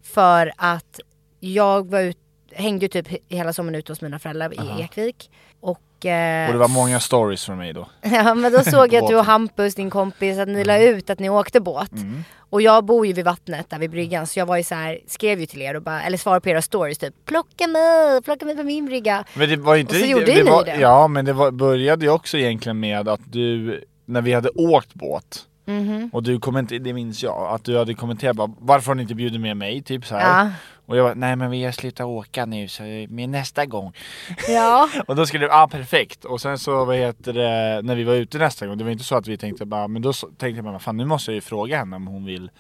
[SPEAKER 3] För att jag var ut, hängde ju typ he- hela sommaren ute hos mina föräldrar i Ekvik. Och, eh,
[SPEAKER 2] Och det var många stories från mig då.
[SPEAKER 3] Ja men då såg jag att du och
[SPEAKER 2] Båten.
[SPEAKER 3] Hampus, din kompis, att ni la
[SPEAKER 2] Mm.
[SPEAKER 3] ut att ni åkte båt. Och jag bor ju vid vattnet där vid bryggan så jag var ju så här, skrev ju till er och bara, eller svarade på era stories typ Plocka mig, plocka mig på min brygga.
[SPEAKER 2] Men det var ju inte
[SPEAKER 3] Och så
[SPEAKER 2] riktigt-
[SPEAKER 3] gjorde
[SPEAKER 2] det
[SPEAKER 3] ni
[SPEAKER 2] var,
[SPEAKER 3] det.
[SPEAKER 2] Ja men det var, började ju också egentligen med att du, när vi hade åkt båt.
[SPEAKER 3] Mhm.
[SPEAKER 2] Och du kommenter, det minns jag, att du hade kommenterat bara varför har ni inte bjudit med mig? Typ så här.
[SPEAKER 3] Ja.
[SPEAKER 2] Och jag var nej men vi har slutat åka nu så eh, med nästa gång.
[SPEAKER 3] Ja.
[SPEAKER 2] Och då skulle du, ah perfekt! Och sen så vad heter det, när vi var ute nästa gång, det var inte så att vi tänkte bara, men då så- tänkte jag bara, fan nu måste jag ju fråga henne om hon vill
[SPEAKER 3] Var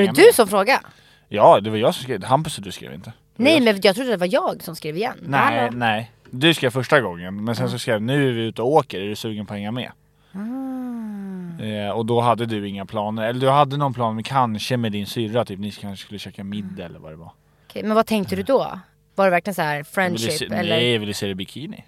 [SPEAKER 3] det
[SPEAKER 2] hänga
[SPEAKER 3] du
[SPEAKER 2] med.
[SPEAKER 3] som frågade?
[SPEAKER 2] Ja, det var jag som skrev, Hampus och du skrev inte. Det var
[SPEAKER 3] Nej
[SPEAKER 2] jag.
[SPEAKER 3] men jag trodde det var jag som skrev igen.
[SPEAKER 2] Nej,
[SPEAKER 3] Hallå.
[SPEAKER 2] nej. Du skrev första gången, men sen så skrev jag, nu är vi ute och åker, är du sugen på att hänga med?
[SPEAKER 3] Ah.
[SPEAKER 2] Eh, och då hade du inga planer, eller du hade någon plan, men kanske med din syrra, typ ni kanske skulle käka middag eller vad det var.
[SPEAKER 3] Okej, men vad tänkte du då? Var det verkligen så här
[SPEAKER 2] Vill du se,
[SPEAKER 3] friendship eller?
[SPEAKER 2] Nej, vill du se det i bikini?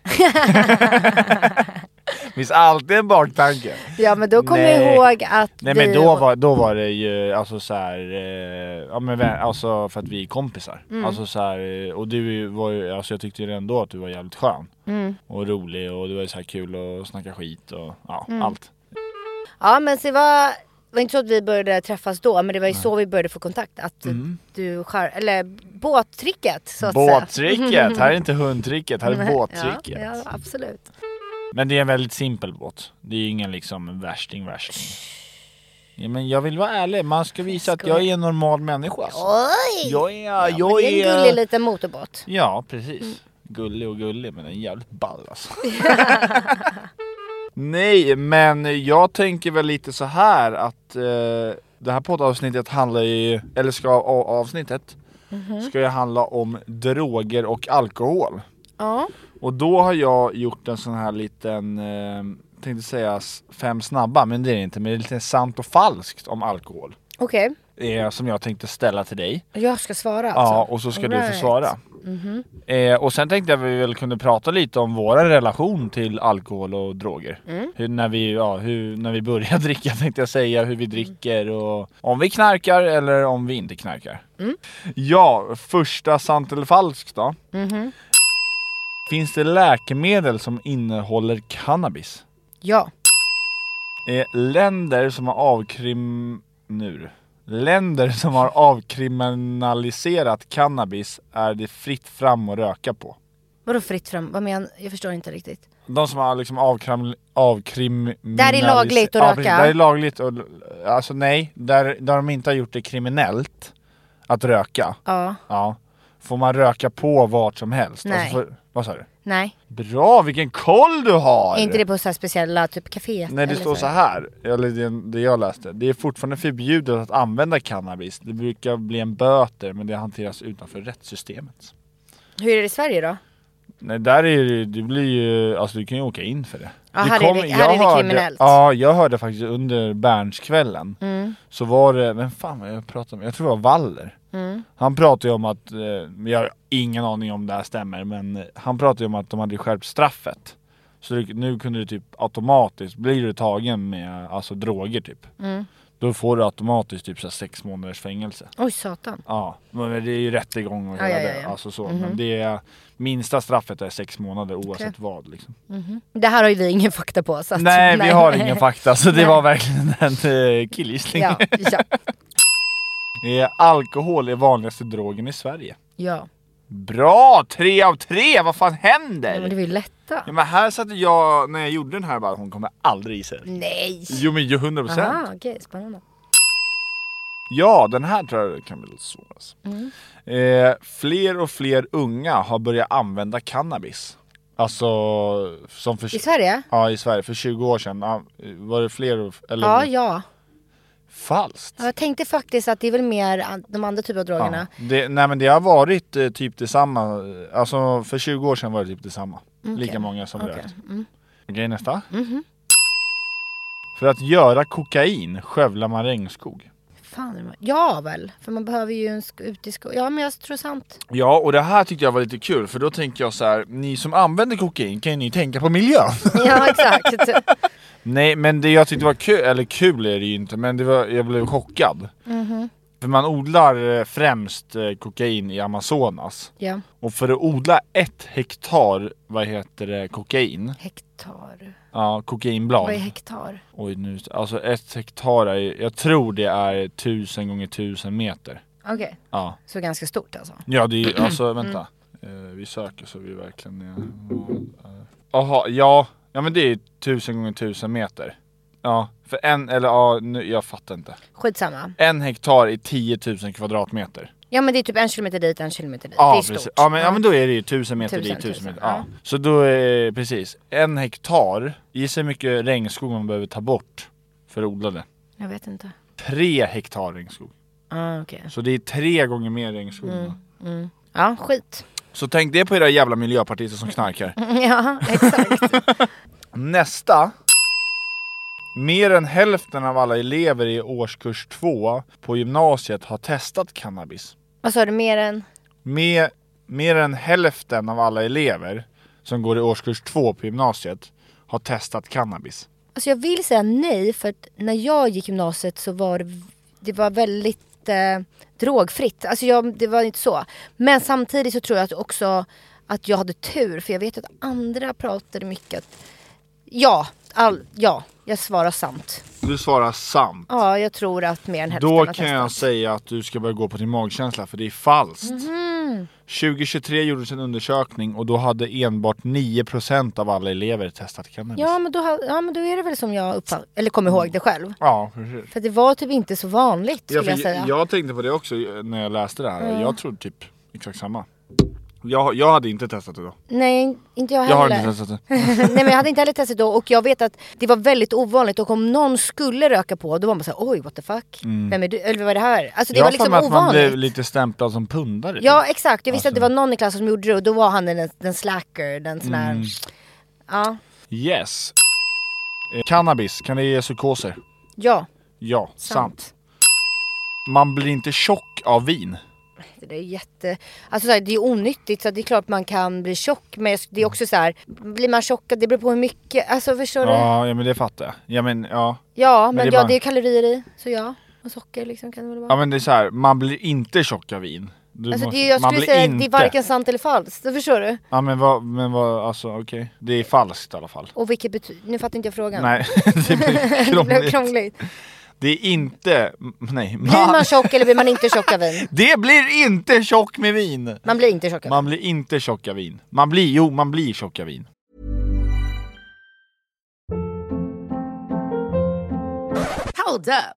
[SPEAKER 2] finns alltid en baktanke.
[SPEAKER 3] Ja men då kommer jag
[SPEAKER 2] Nej.
[SPEAKER 3] ihåg att
[SPEAKER 2] Nej
[SPEAKER 3] vi...
[SPEAKER 2] men då var, då var det ju alltså så här, eh, ja men vä- alltså för att vi är kompisar.
[SPEAKER 3] Mm.
[SPEAKER 2] Alltså så här, eh, och du var ju, alltså jag tyckte ju ändå att du var jävligt skön.
[SPEAKER 3] Mm.
[SPEAKER 2] Och rolig och det var ju så här kul att snacka skit och ja,
[SPEAKER 3] Mm.
[SPEAKER 2] allt.
[SPEAKER 3] Ja men så det var, det var inte så att vi började träffas då men det var ju så vi började få kontakt. Att
[SPEAKER 2] Mm.
[SPEAKER 3] du skär, eller båttricket så att säga.
[SPEAKER 2] Båttricket! Här är inte hundtricket, här är båttricket.
[SPEAKER 3] Ja, ja absolut.
[SPEAKER 2] Men det är en väldigt simpel båt. Det är ju ingen liksom värsting värsting. Ja, men jag vill vara ärlig, man ska visa att jag är en normal människa. Alltså.
[SPEAKER 3] Oj!
[SPEAKER 2] Jag är,
[SPEAKER 3] men
[SPEAKER 2] jag
[SPEAKER 3] det är en
[SPEAKER 2] är...
[SPEAKER 3] gullig liten motorbåt.
[SPEAKER 2] Ja, precis. Gullig och gullig, men den är jävligt ball alltså. Nej, men jag tänker väl lite så här att eh, det här poddavsnittet handlar ju, eller ska a- avsnittet, ska ju handla om droger och alkohol.
[SPEAKER 3] Ja.
[SPEAKER 2] Och då har jag gjort en sån här liten, eh, tänkte säga s- fem snabba, men det är det inte, men det är lite sant och falskt om alkohol.
[SPEAKER 3] Okej,
[SPEAKER 2] Eh, som jag tänkte ställa till dig.
[SPEAKER 3] jag ska svara alltså. Mhm,
[SPEAKER 2] Ja, och så ska du
[SPEAKER 3] Alright.
[SPEAKER 2] få svara. Eh, och sen tänkte jag att vi väl kunde prata lite om vår relation till alkohol och droger. Hur, när, vi, ja, hur, när vi börjar dricka tänkte jag säga, hur vi dricker och om vi knarkar eller om vi inte knarkar. Ja, första sant eller falskt då.
[SPEAKER 3] mhm.
[SPEAKER 2] Finns det läkemedel som innehåller cannabis?
[SPEAKER 3] Ja.
[SPEAKER 2] Eh, länder som har avkrim... Nu. du. Länder som har avkriminaliserat cannabis är det fritt fram att röka på.
[SPEAKER 3] Vadå fritt fram? Vad menar Jag förstår inte riktigt.
[SPEAKER 2] De som har liksom avkram, avkrim...
[SPEAKER 3] Där är lagligt att
[SPEAKER 2] Ja, precis.
[SPEAKER 3] röka.
[SPEAKER 2] Där är lagligt och, alltså nej, där, där de inte har gjort det kriminellt att röka.
[SPEAKER 3] Ja,
[SPEAKER 2] Ja. Får man röka på vart som helst?
[SPEAKER 3] Nej.
[SPEAKER 2] Alltså, för, vad sa du?
[SPEAKER 3] nej.
[SPEAKER 2] Bra, vilken koll du har!
[SPEAKER 3] Är inte det på så här speciella, typ kaféet?
[SPEAKER 2] Nej det
[SPEAKER 3] eller
[SPEAKER 2] står så här, eller det, det jag läste. Det är fortfarande förbjudet att använda cannabis. Det brukar bli en böter men det hanteras utanför rättssystemet.
[SPEAKER 3] Hur är det i Sverige då?
[SPEAKER 2] Nej där är det, det blir ju, alltså du kan ju åka in för det.
[SPEAKER 3] Ja, här är det- här är det
[SPEAKER 2] hörde,
[SPEAKER 3] kriminellt. Mm.
[SPEAKER 2] Ja jag hörde faktiskt under Berntskvällen så var det, vem fan var det jag pratade med? Jag tror det var Waller.
[SPEAKER 3] Mm.
[SPEAKER 2] Han pratade ju om att, eh, jag har ingen aning om det här stämmer men eh, han pratade ju om att de hade skärpt straffet. Så det, nu kunde du typ automatiskt, blir du tagen med alltså droger typ.
[SPEAKER 3] Mm.
[SPEAKER 2] Då får du automatiskt typ så här sex månaders fängelse.
[SPEAKER 3] Oj satan.
[SPEAKER 2] Ja, men det är ju rättegång och
[SPEAKER 3] Ja,
[SPEAKER 2] hela
[SPEAKER 3] ja, ja,
[SPEAKER 2] det.
[SPEAKER 3] ja. Mhm.
[SPEAKER 2] Alltså så. Men det är, minsta straffet är sex månader oavsett vad. Liksom.
[SPEAKER 3] Det här har ju vi ingen fakta på så att,
[SPEAKER 2] Nej, vi har ingen fakta så det var verkligen en eh, killgissning.
[SPEAKER 3] Ja, ja,
[SPEAKER 2] Eh, Alkohol är vanligaste drogen i Sverige.
[SPEAKER 3] ja.
[SPEAKER 2] Bra! Tre av tre! Vad fan händer?
[SPEAKER 3] Men det var ju lätta.
[SPEAKER 2] Ja, men här satt jag, när jag gjorde den här bara, hon kommer aldrig gissa det.
[SPEAKER 3] Nej!
[SPEAKER 2] Jo men ju 100 procent.
[SPEAKER 3] Aha, okej, spännande.
[SPEAKER 2] Ja, den här tror jag kan bli lite svår. Alltså. Eh, fler och fler unga har börjat använda cannabis. Alltså, som för...
[SPEAKER 3] I Sverige?
[SPEAKER 2] Ja, i Sverige. För 20 år sedan ah, var det fler och... Eller...
[SPEAKER 3] Ja, ja.
[SPEAKER 2] Falskt.
[SPEAKER 3] Ja, Jag tänkte faktiskt att det är väl mer an- de andra typerna av drogerna.
[SPEAKER 2] Ja. Det, nej men det har varit eh, typ detsamma. Alltså för 20 år sedan var det typ detsamma. Lika många som
[SPEAKER 3] Mm, Okej, Mm. Mhm.
[SPEAKER 2] rökt. Okej, nästa. För att göra kokain skövlar man regnskog.
[SPEAKER 3] Fan, det var- ja väl, för man behöver ju en sk- ut i sko- Ja, men jag tror sant.
[SPEAKER 2] Ja, och det här tyckte jag var lite kul för då tänker jag så här, ni som använder kokain kan ju ni tänka på miljön.
[SPEAKER 3] Ja, exakt.
[SPEAKER 2] Nej, men det jag tyckte var kul, eller kul är det ju inte, men det var, jag blev chockad. För man odlar eh, främst eh, kokain i Amazonas.
[SPEAKER 3] ja,
[SPEAKER 2] Och för att odla ett hektar, vad heter det, kokain?
[SPEAKER 3] hektar.
[SPEAKER 2] Ja, kokainblad.
[SPEAKER 3] Vad är hektar?
[SPEAKER 2] Oj, nu, alltså ett hektar är, jag tror det är tusen gånger tusen meter.
[SPEAKER 3] Okej,
[SPEAKER 2] Ja.
[SPEAKER 3] så ganska stort alltså.
[SPEAKER 2] Ja det är ju, alltså vänta. Eh, vi söker så vi verkligen är... Jaha, ja. Ja men det är ju tusen gånger tusen meter. Ja, för en, eller ja, nu, jag fattar inte.
[SPEAKER 3] Skitsamma.
[SPEAKER 2] En hektar är 10 000 kvadratmeter.
[SPEAKER 3] Ja, men det är typ en kilometer dit, en kilometer dit.
[SPEAKER 2] Ja,
[SPEAKER 3] det är stort.
[SPEAKER 2] precis. Ja men, ja men då är det ju tusen meter
[SPEAKER 3] Tusen,
[SPEAKER 2] dit, tusen
[SPEAKER 3] tusen,
[SPEAKER 2] meter. Ja. Så då är precis, en hektar, gissa hur mycket regnskog man behöver ta bort för att odla det.
[SPEAKER 3] Jag vet inte.
[SPEAKER 2] Tre hektar regnskog.
[SPEAKER 3] Ah, okej.
[SPEAKER 2] Så det är tre gånger mer regnskog.
[SPEAKER 3] Mm. Ja, skit.
[SPEAKER 2] Så tänk det på era jävla miljöpartister som knarkar.
[SPEAKER 3] Ja, exakt.
[SPEAKER 2] Nästa. Mer än hälften av alla elever i årskurs 2 på gymnasiet har testat cannabis.
[SPEAKER 3] Vad sa du, mer än?
[SPEAKER 2] Med, mer än hälften av alla elever som går i årskurs 2 på gymnasiet har testat cannabis.
[SPEAKER 3] Alltså jag vill säga nej, för att när jag gick gymnasiet så var det, det var väldigt eh, drogfritt. Alltså jag, det var inte så. Men samtidigt så tror jag att också att jag hade tur, för jag vet att andra pratade mycket. Att, ja, all, ja, jag svarar sant.
[SPEAKER 2] Du svarar sant.
[SPEAKER 3] Ja, jag tror att mer än hälften
[SPEAKER 2] Då
[SPEAKER 3] har
[SPEAKER 2] kan
[SPEAKER 3] testat.
[SPEAKER 2] jag säga att du ska börja gå på din magkänsla för det är falskt.
[SPEAKER 3] Mhm.
[SPEAKER 2] 2023 gjordes en undersökning och då hade enbart 9% av alla elever testat cannabis.
[SPEAKER 3] Ja men, då, ha- ja, men då är det väl som jag uppfattar, eller kommer ihåg det själv.
[SPEAKER 2] Ja, precis.
[SPEAKER 3] För det var typ inte så vanligt skulle
[SPEAKER 2] Ja,
[SPEAKER 3] jag,
[SPEAKER 2] för
[SPEAKER 3] säga.
[SPEAKER 2] jag, jag tänkte på det också eh, när jag läste det här. Jag trodde typ exakt samma. Jag, jag hade inte testat det då.
[SPEAKER 3] Nej, inte jag heller.
[SPEAKER 2] Jag har inte testat det.
[SPEAKER 3] Nej men jag hade inte heller testat då och jag vet att det var väldigt ovanligt och om någon skulle röka på då var man såhär oj what the fuck, vem är du, eller vad är det här? Alltså det
[SPEAKER 2] Mm. jag har för
[SPEAKER 3] var liksom
[SPEAKER 2] mig att man
[SPEAKER 3] ovanligt.
[SPEAKER 2] blev lite stämplad som pundare. typ.
[SPEAKER 3] Ja exakt, jag visste att det var någon i klassen som gjorde det och då var han den, den slacker, den sån här.
[SPEAKER 2] Mm.
[SPEAKER 3] Ja,
[SPEAKER 2] Yes. Eh, Cannabis, kan det ge psykoser?
[SPEAKER 3] ja,
[SPEAKER 2] Ja, sant.
[SPEAKER 3] sant.
[SPEAKER 2] Man blir inte tjock av vin.
[SPEAKER 3] Det där är jätte... Alltså så här, det är onyttigt så det är klart man kan bli tjock men det är också så här, blir man tjock, det beror på hur mycket, alltså förstår du?
[SPEAKER 2] Ja, ja men det fattar jag. Ja men ja.
[SPEAKER 3] Ja, men,
[SPEAKER 2] det är
[SPEAKER 3] ja,
[SPEAKER 2] bara-
[SPEAKER 3] det är kalorier i. Så ja. Och socker liksom kan det väl vara.
[SPEAKER 2] Ja men det är så här, man blir inte tjock av vin. Du
[SPEAKER 3] alltså det,
[SPEAKER 2] måste-
[SPEAKER 3] är- jag
[SPEAKER 2] man
[SPEAKER 3] skulle
[SPEAKER 2] blir
[SPEAKER 3] säga att
[SPEAKER 2] inte.
[SPEAKER 3] det är varken sant eller falskt. Det förstår du?
[SPEAKER 2] Ja men vad, men vad, alltså okej. Det är falskt i alla fall.
[SPEAKER 3] Och vilket betyder... Nu fattar inte jag frågan.
[SPEAKER 2] Nej, det blir
[SPEAKER 3] det
[SPEAKER 2] krångligt.
[SPEAKER 3] blev krångligt.
[SPEAKER 2] Det är inte, nej,
[SPEAKER 3] Blir
[SPEAKER 2] man-
[SPEAKER 3] man tjock eller blir man inte tjock av vin?
[SPEAKER 2] det blir inte tjock med vin!
[SPEAKER 3] Man blir inte tjock av vin.
[SPEAKER 2] Man blir inte tjock av vin. Man blir, jo man blir tjock av vin.
[SPEAKER 4] Hold up.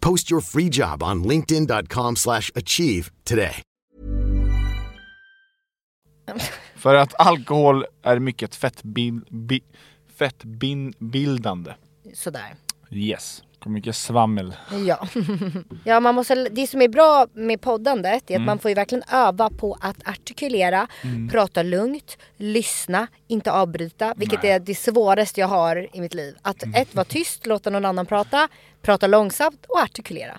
[SPEAKER 5] Post your free job on linkedin.com/achieve slash achieve today.
[SPEAKER 2] För att alkohol är mycket fettbil, bi, fettbildande.
[SPEAKER 3] Sådär.
[SPEAKER 2] Yes. Och mycket svammel.
[SPEAKER 3] Ja. ja man måste, det som är bra med poddandet
[SPEAKER 2] Mm.
[SPEAKER 3] är att man får ju verkligen öva på att artikulera, prata lugnt, lyssna, inte avbryta. Vilket är det svåraste jag har i mitt liv. Att
[SPEAKER 2] Mm.
[SPEAKER 3] ett, vara tyst, låta någon annan prata, prata långsamt och artikulera.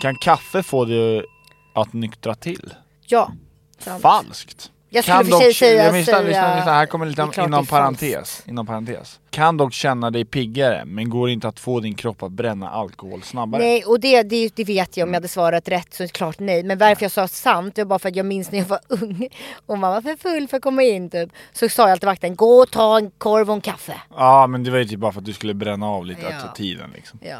[SPEAKER 2] Kan kaffe få dig att nyktra till?
[SPEAKER 3] Ja. sant.
[SPEAKER 2] Falskt.
[SPEAKER 3] Jag skulle för sig
[SPEAKER 2] dock-
[SPEAKER 3] säga-
[SPEAKER 2] jag missade-
[SPEAKER 3] säga-
[SPEAKER 2] lyssna, lyssna, här kommer
[SPEAKER 3] det är
[SPEAKER 2] lite
[SPEAKER 3] klart det är
[SPEAKER 2] inom
[SPEAKER 3] falskt.
[SPEAKER 2] parentes, inom parentes. Kan dock känna dig piggare, men går inte att få din kropp att bränna alkohol snabbare.
[SPEAKER 3] Nej och det, det, det vet jag om jag hade svarat rätt så är det klart nej. Men varför jag sa sant det var bara för att jag minns när jag var ung och man var för full för att komma in typ. Så sa jag alltid till vakten gå och ta en korv och en kaffe.
[SPEAKER 2] Ja, men det var ju typ bara för att du skulle bränna av lite
[SPEAKER 3] Ja.
[SPEAKER 2] av tiden liksom.
[SPEAKER 3] Ja.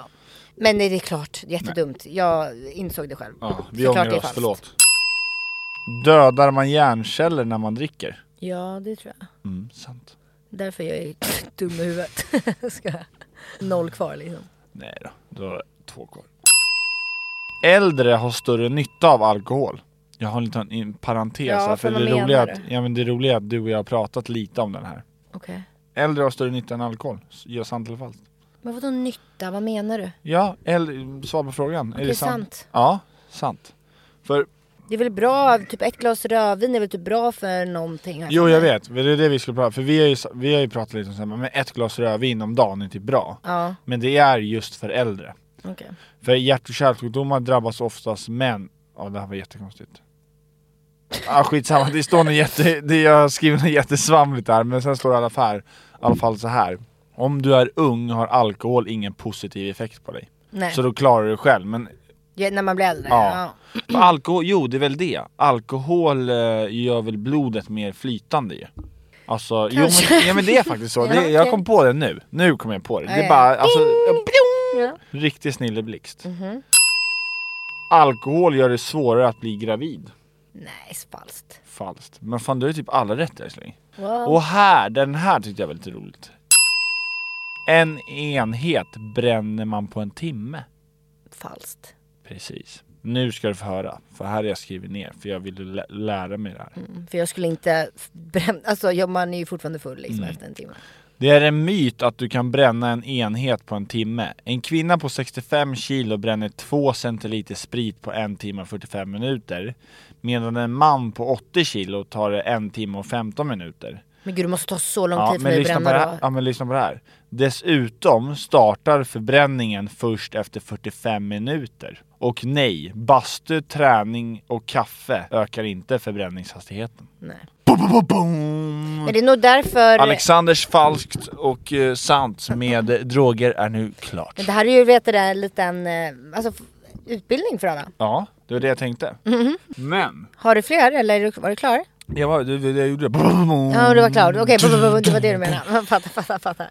[SPEAKER 3] Men nej, det är klart, jättedumt. Jag insåg det själv.
[SPEAKER 2] Ja, vi
[SPEAKER 3] Såklart
[SPEAKER 2] ångrar
[SPEAKER 3] det är
[SPEAKER 2] oss,
[SPEAKER 3] falskt.
[SPEAKER 2] förlåt. Dödar man hjärnceller när man dricker?
[SPEAKER 3] Ja, det tror jag.
[SPEAKER 2] Mm, sant.
[SPEAKER 3] Därför jag är dum i huvudet. Ska jag- Noll kvar liksom.
[SPEAKER 2] Nej då, då har jag två kvar. Äldre har större nytta av alkohol. Jag har en liten in- parentes
[SPEAKER 3] Ja,
[SPEAKER 2] här, för
[SPEAKER 3] för
[SPEAKER 2] det
[SPEAKER 3] vad menar
[SPEAKER 2] roliga, att,
[SPEAKER 3] du?
[SPEAKER 2] ja, men det roliga är att du och jag har pratat lite om den här.
[SPEAKER 3] Okej.
[SPEAKER 2] Äldre har större nytta än alkohol. S- Gör sant eller falskt?
[SPEAKER 3] Men vadå nytta? Vad menar du?
[SPEAKER 2] Ja, äldre, svar på frågan.
[SPEAKER 3] Det är sant.
[SPEAKER 2] Ja, sant. För,
[SPEAKER 3] Det är väl bra, typ ett glas rödvin är väl typ bra för någonting? alltså. här
[SPEAKER 2] jo
[SPEAKER 3] för
[SPEAKER 2] jag
[SPEAKER 3] mig.
[SPEAKER 2] vet, det är det vi skulle prata För vi har ju, sa- vi har ju pratat lite om så här, men ett glas rödvin om dagen är inte bra.
[SPEAKER 3] Ja,
[SPEAKER 2] Men det är just för äldre.
[SPEAKER 3] okej.
[SPEAKER 2] För hjärt och kärlsjukdomar drabbas oftast män Ja det här var jättekonstigt ah, Skitsamma, det står något jätte, det jag skriver något jättesvamligt här men sen står det i alla fall, i alla fall så här Om du är ung har alkohol ingen positiv effekt på dig
[SPEAKER 3] Nej,
[SPEAKER 2] Så då klarar du det själv men
[SPEAKER 3] ja, när man blir äldre?
[SPEAKER 2] Ja. för alkohol, jo det är väl det Alkohol eh, gör väl blodet mer flytande ju Alltså, jo men, ja, men det är faktiskt så,
[SPEAKER 3] Ja,
[SPEAKER 2] det, jag
[SPEAKER 3] okej.
[SPEAKER 2] kom på det nu, nu kom jag på det, det
[SPEAKER 3] Ja,
[SPEAKER 2] är
[SPEAKER 3] ja.
[SPEAKER 2] bara alltså,
[SPEAKER 3] Ja.
[SPEAKER 2] Riktig snilleblixt.
[SPEAKER 3] Mhm.
[SPEAKER 2] Alkohol gör det svårare att bli gravid.
[SPEAKER 3] Nej, falskt.
[SPEAKER 2] Falskt. Men fan du har ju typ alla rätt älskling.
[SPEAKER 3] Wow.
[SPEAKER 2] Och här, den här tyckte jag var lite roligt. En enhet bränner man på en timme.
[SPEAKER 3] Falskt.
[SPEAKER 2] Precis. Nu ska du få höra. För här har jag skrivit ner. För jag ville lä- lära mig det här.
[SPEAKER 3] För jag skulle inte bränna, alltså ja, man är ju fortfarande full liksom
[SPEAKER 2] Mm.
[SPEAKER 3] efter en timme.
[SPEAKER 2] Det är en myt att du kan bränna en enhet på en timme. En kvinna på 65 kilo bränner 2 centiliter sprit på 1 timme och 45 minuter. Medan en man på 80 kilo tar det 1 timme och 15 minuter.
[SPEAKER 3] Men gud det måste ta så lång
[SPEAKER 2] Ja
[SPEAKER 3] tid för
[SPEAKER 2] men,
[SPEAKER 3] mig att
[SPEAKER 2] lyssna på
[SPEAKER 3] bränna
[SPEAKER 2] det
[SPEAKER 3] då.
[SPEAKER 2] här. ja men lyssna på det här. Dessutom startar förbränningen först efter 45 minuter. Och nej, bastu, träning och kaffe ökar inte förbränningshastigheten.
[SPEAKER 3] Nej.
[SPEAKER 2] Boom, boom, boom, boom.
[SPEAKER 3] Men det är nog därför...
[SPEAKER 2] Alexanders falskt och eh, sant med eh, droger är nu klart.
[SPEAKER 3] Men det här är ju vet du, det, en liten eh, alltså, f- utbildning för alla.
[SPEAKER 2] Ja, det var det jag tänkte.
[SPEAKER 3] Mhm.
[SPEAKER 2] Men,
[SPEAKER 3] Har du fler eller är du- var du klar?
[SPEAKER 2] jag, var, det, det, jag gjorde det.
[SPEAKER 3] Ja, du var klar. Okej, bu- bu- bu- det var det du menade. Fattar, fattar, fattar.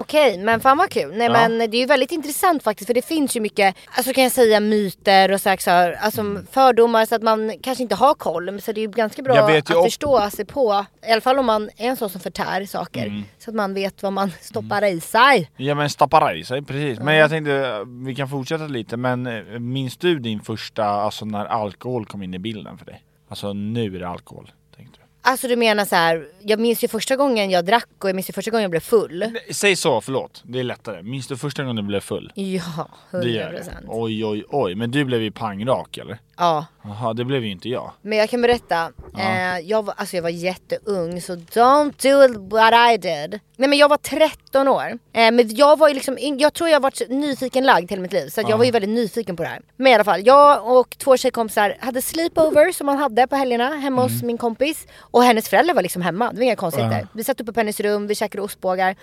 [SPEAKER 3] Okej, men fan vad kul. Nej
[SPEAKER 2] Ja.
[SPEAKER 3] men det är ju väldigt intressant faktiskt för det finns ju mycket, alltså kan jag säga myter och så här, så här, alltså fördomar så att man kanske inte har koll. Men Så det är ju ganska bra
[SPEAKER 2] Mm. Jag vet
[SPEAKER 3] att
[SPEAKER 2] ju också-
[SPEAKER 3] förstå sig på, i alla fall om man är en sån som förtär saker.
[SPEAKER 2] Mm.
[SPEAKER 3] Så att man vet vad man stoppar i sig.
[SPEAKER 2] Ja men stappar i sig, precis. Men jag tänkte, eh, vi kan fortsätta lite, men eh, minns du din första, alltså när alkohol kom in i bilden för dig? Alltså nu är det alkohol. Tänkte du.
[SPEAKER 3] Alltså du menar så här, jag minns ju första gången jag drack och jag minns ju första gången jag blev full.
[SPEAKER 2] Nej, Eh, Säg så, förlåt. Det är lättare. Minns du första gången du blev full?
[SPEAKER 3] Ja,
[SPEAKER 2] Det gör
[SPEAKER 3] 100%.
[SPEAKER 2] det. Oj, oj, oj. Men du blev ju pangrak eller?
[SPEAKER 3] Ja.
[SPEAKER 2] Jaha, det blev ju inte jag.
[SPEAKER 3] Men jag kan berätta, eh, jag, var, alltså jag var jätteung så don't do it what I did. Nej men jag var 13 år. Eh, men jag var ju liksom, yng- jag tror jag har varit så nyfiken lagd hela mitt liv så att jag var ju väldigt nyfiken på det här. Men i alla fall, jag och två tjejkompisar hade sleepover som man hade på helgerna hemma hos min kompis. Och hennes föräldrar var liksom hemma, det var inga konstigheter. Vi satt uppe på hennes rum, vi käkade ostbågar.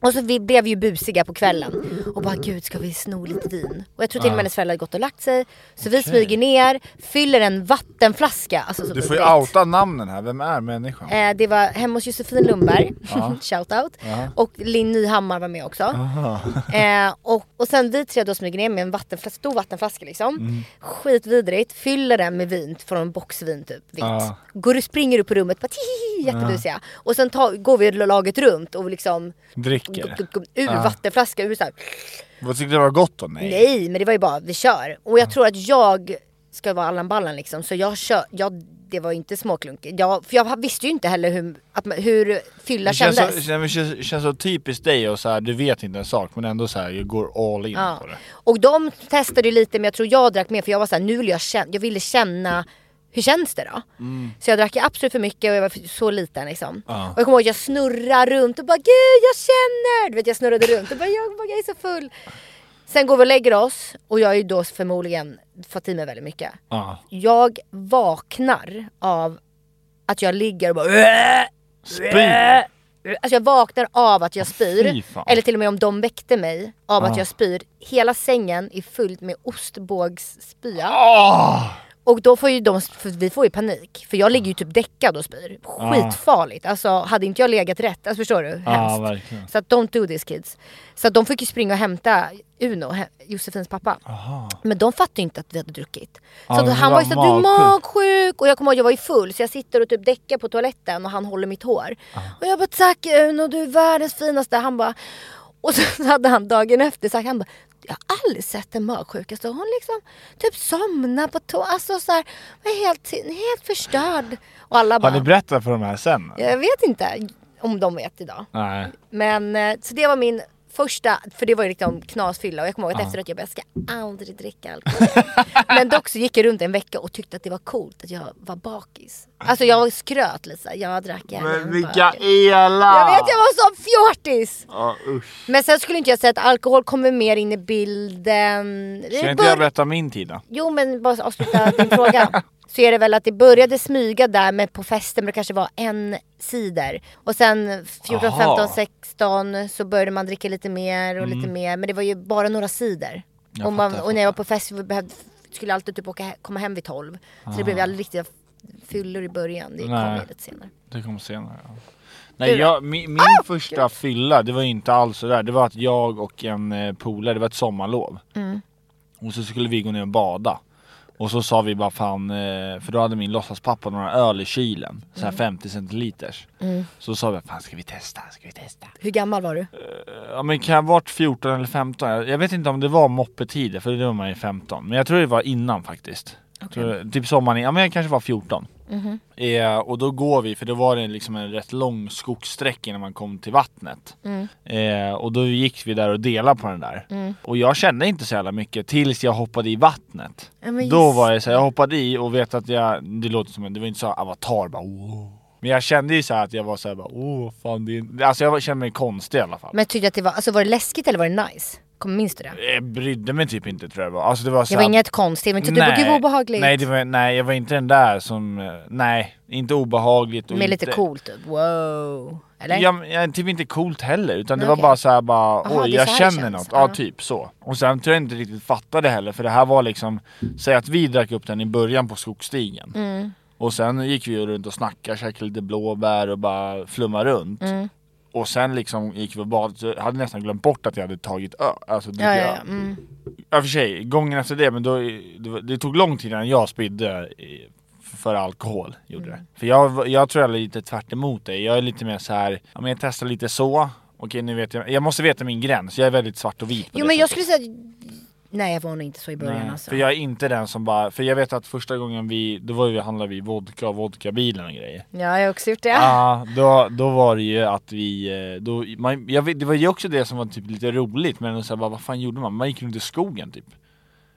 [SPEAKER 3] Och så vi blev ju busiga på kvällen och bara gud ska vi sno lite vin? Och jag tror till och med hennes föräldrar hade gått och lagt sig. Så vi smyger ner, fyller en vattenflaska. Alltså, så
[SPEAKER 2] Du får ju
[SPEAKER 3] bubbligt.
[SPEAKER 2] outa namnen här. Vem är människan?
[SPEAKER 3] Eh, det var hemma hos Josefin Lundberg, shout out. Och Linn Nyhammar var med också. Eh, och, och sen vi tre då smyger ner med en vattenflaska, stor vattenflaska liksom.
[SPEAKER 2] Mm.
[SPEAKER 3] Skitvidrigt, fyller den med vin från en boxvin typ, vitt.
[SPEAKER 2] Ja.
[SPEAKER 3] Går och springer upp på rummet, bara tihihi, jättebusiga. Och sen ta, går vi laget runt och liksom
[SPEAKER 2] Dricker.
[SPEAKER 3] gupp, gupp, ur vattenflaska, ur så här.
[SPEAKER 2] Vad tyckte du var gott då? Nej.
[SPEAKER 3] Nej men det var ju bara, vi kör. Och jag tror att jag ska vara Allan Ballan liksom. Så jag kör, jag, det var ju inte småklunk. Jag, för jag visste ju inte heller hur, att, man- hur fylla
[SPEAKER 2] Det känns,
[SPEAKER 3] kändes.
[SPEAKER 2] så, det känns, det känns så typiskt dig och så här, du vet inte en sak men ändå så här, jag går all in
[SPEAKER 3] Ja.
[SPEAKER 2] på det.
[SPEAKER 3] Och de testade ju lite men jag tror jag drack mer för jag var såhär, nu vill jag känna, jag ville känna hur känns det då? Så jag drack ju absolut för mycket och jag var för- så liten liksom.
[SPEAKER 2] Mm. Ja.
[SPEAKER 3] Och jag kommer ihåg att jag snurrade runt och bara gud jag känner! Du vet jag snurrade runt och bara jag, bara, jag är så full. Sen går vi och lägger oss och jag är ju då förmodligen fått i mig väldigt mycket.
[SPEAKER 2] Ja.
[SPEAKER 3] jag vaknar av att jag ligger och bara...
[SPEAKER 2] Spyr!
[SPEAKER 3] Alltså jag vaknar av att jag
[SPEAKER 2] fy
[SPEAKER 3] spyr.
[SPEAKER 2] fan.
[SPEAKER 3] Eller till och med om de väckte mig av att
[SPEAKER 2] Ah.
[SPEAKER 3] jag spyr. Hela sängen är fylld med ostbågsspya.
[SPEAKER 2] Åh!
[SPEAKER 3] Och då får ju de, för vi får ju panik. För jag ligger ju typ däckad och spyr.
[SPEAKER 2] Ah.
[SPEAKER 3] Skitfarligt. Alltså hade inte jag legat rätt, alltså förstår du?
[SPEAKER 2] Ja,
[SPEAKER 3] Hemskt.
[SPEAKER 2] Ah, verkligen.
[SPEAKER 3] Så att don't do this kids. Så att de fick ju springa och hämta Uno, he- Josefins pappa. Men de fattade ju inte att vi hade druckit. Så
[SPEAKER 2] Ja,
[SPEAKER 3] att
[SPEAKER 2] men
[SPEAKER 3] han
[SPEAKER 2] det
[SPEAKER 3] var ju
[SPEAKER 2] var
[SPEAKER 3] såhär, du är
[SPEAKER 2] magsjuk."
[SPEAKER 3] magsjuk! Och jag kommer ihåg, jag var ju full så jag sitter och typ däckar på toaletten och han håller mitt hår. Och jag bara, tack Uno, du är världens finaste. Han bara, och så hade han dagen efter sagt, han bara, jag har aldrig sett en magsjuka. Så hon liksom typ somnar på toa, alltså såhär, var helt, helt förstörd. Och alla
[SPEAKER 2] Har ni
[SPEAKER 3] bara,
[SPEAKER 2] berättat för de här sen?
[SPEAKER 3] jag vet inte om de vet idag.
[SPEAKER 2] Nej.
[SPEAKER 3] Men eh, så det var min första, för det var ju liksom knasfylla och jag kommer ihåg att efteråt jag bara, jag ska aldrig dricka alkohol. Men dock så gick jag runt en vecka och tyckte att det var coolt att jag var bakis. Alltså jag skröt lite såhär, jag drack gärna en bakis.
[SPEAKER 2] elak!
[SPEAKER 3] Jag vet jag var så fjortis!
[SPEAKER 2] Ja, usch.
[SPEAKER 3] Men sen skulle inte jag säga att alkohol kommer mer in i bilden. Det
[SPEAKER 2] Ska inte
[SPEAKER 3] bör-
[SPEAKER 2] jag berätta min tid då?
[SPEAKER 3] Jo men bara avsluta din fråga. Så är det väl att det började smyga där men på festen brukade det kanske vara en cider. Och sen 14,
[SPEAKER 2] Aha.
[SPEAKER 3] 15, 16 så började man dricka lite mer och lite mer. Men det var ju bara några cider.
[SPEAKER 2] Mm. Jag
[SPEAKER 3] Och, man,
[SPEAKER 2] fattar, jag
[SPEAKER 3] och när jag var på fest vi behövde, skulle jag alltid typ åka, he- komma hem vid 12. Så det blev ju aldrig riktiga fyllor i början. Det kom
[SPEAKER 2] Ah. Nej.
[SPEAKER 3] ju lite senare.
[SPEAKER 2] Det kommer senare. Ja. Nej, jag, min, min första fylla, det var ju inte alls sådär. Det var att jag och en eh, polare, det var ett sommarlov. Och så skulle vi gå ner och bada. Och så sa vi bara fan, eh, för då hade min låtsaspappa några öl i kylen, så här 50 centiliters. Så sa vi fan ska vi testa, ska vi testa?
[SPEAKER 3] Hur gammal var du?
[SPEAKER 2] Ja men kan jag ha varit 14 eller 15? Jag jag vet inte om det var moppetider för det var man ju 15. Men jag tror det var innan faktiskt. Jag Tror, typ sommaren, ja men jag kanske var 14.
[SPEAKER 3] Mhm.
[SPEAKER 2] Eh, och då går vi, för då var det liksom en rätt lång skogssträcka innan man kom till vattnet.
[SPEAKER 3] Mm.
[SPEAKER 2] Eh, och då gick vi där och delade på den där. Och jag kände inte så jävla mycket tills jag hoppade i vattnet.
[SPEAKER 3] Ja, men
[SPEAKER 2] då
[SPEAKER 3] just
[SPEAKER 2] var jag så här, jag hoppade i och vet att jag, det låter som en, det var inte så här avatar bara wow. Men jag kände ju så här att jag var så här bara åh fan det är... Alltså jag var- kände mig konstig i alla fall.
[SPEAKER 3] Men jag tyckte att det var, alltså var det läskigt eller var det nice? Kommer minns du det?
[SPEAKER 2] Jag brydde mig typ inte tror jag det var. Alltså det var,
[SPEAKER 3] Det
[SPEAKER 2] så
[SPEAKER 3] var
[SPEAKER 2] här-
[SPEAKER 3] inget konstigt men tyckte du typ gud vad obehagligt.
[SPEAKER 2] Nej, det var, nej, jag var inte den där som, eh, nej, inte obehagligt. och
[SPEAKER 3] Med lite
[SPEAKER 2] inte,
[SPEAKER 3] coolt typ, wow. Eller?
[SPEAKER 2] Ja, men, ja, typ inte coolt heller, utan det
[SPEAKER 3] Nej,
[SPEAKER 2] var
[SPEAKER 3] okej.
[SPEAKER 2] bara såhär bara,
[SPEAKER 3] Aha,
[SPEAKER 2] oj
[SPEAKER 3] det är
[SPEAKER 2] jag
[SPEAKER 3] så här det
[SPEAKER 2] känner något.
[SPEAKER 3] känns.
[SPEAKER 2] Ja,
[SPEAKER 3] Ja.
[SPEAKER 2] typ så. Och sen tror jag inte riktigt fattade heller, för det här var liksom, säg att vi drack upp den i början på skogsstigen.
[SPEAKER 3] Mm.
[SPEAKER 2] Och sen gick vi ju runt och snackade, käkade lite blåbär och bara flummade runt.
[SPEAKER 3] Mm.
[SPEAKER 2] Och sen liksom gick vi och badade, så jag hade nästan glömt bort att jag hade tagit ö, alltså druckit
[SPEAKER 3] ja,
[SPEAKER 2] öl.
[SPEAKER 3] ja, ja. Mm.
[SPEAKER 2] Ja för sig, gången efter det, men då, det, var- det tog lång tid innan jag spydde i- för alkohol. Gjorde
[SPEAKER 3] Mm.
[SPEAKER 2] det. För jag, var- jag tror jag är lite tvärt emot dig. Jag är lite mer så här, ja, men jag testar lite så. Okej nu vet jag, jag måste veta min gräns. Jag är väldigt svart och vit på
[SPEAKER 3] Jo
[SPEAKER 2] det
[SPEAKER 3] men jag
[SPEAKER 2] sättet.
[SPEAKER 3] skulle säga att Nej jag var nog inte så i början
[SPEAKER 2] Nej,
[SPEAKER 3] alltså.
[SPEAKER 2] För jag är inte den som bara, för jag vet att första gången vi, då var vi handlade vi vodka och vodkabilen och grejer.
[SPEAKER 3] Ja jag har också gjort det.
[SPEAKER 2] Ja, då, då var det ju att vi, eh, då, man, jag vet, det var ju också det som var typ lite roligt men så här, bara, vad fan gjorde man? Man gick runt i skogen typ.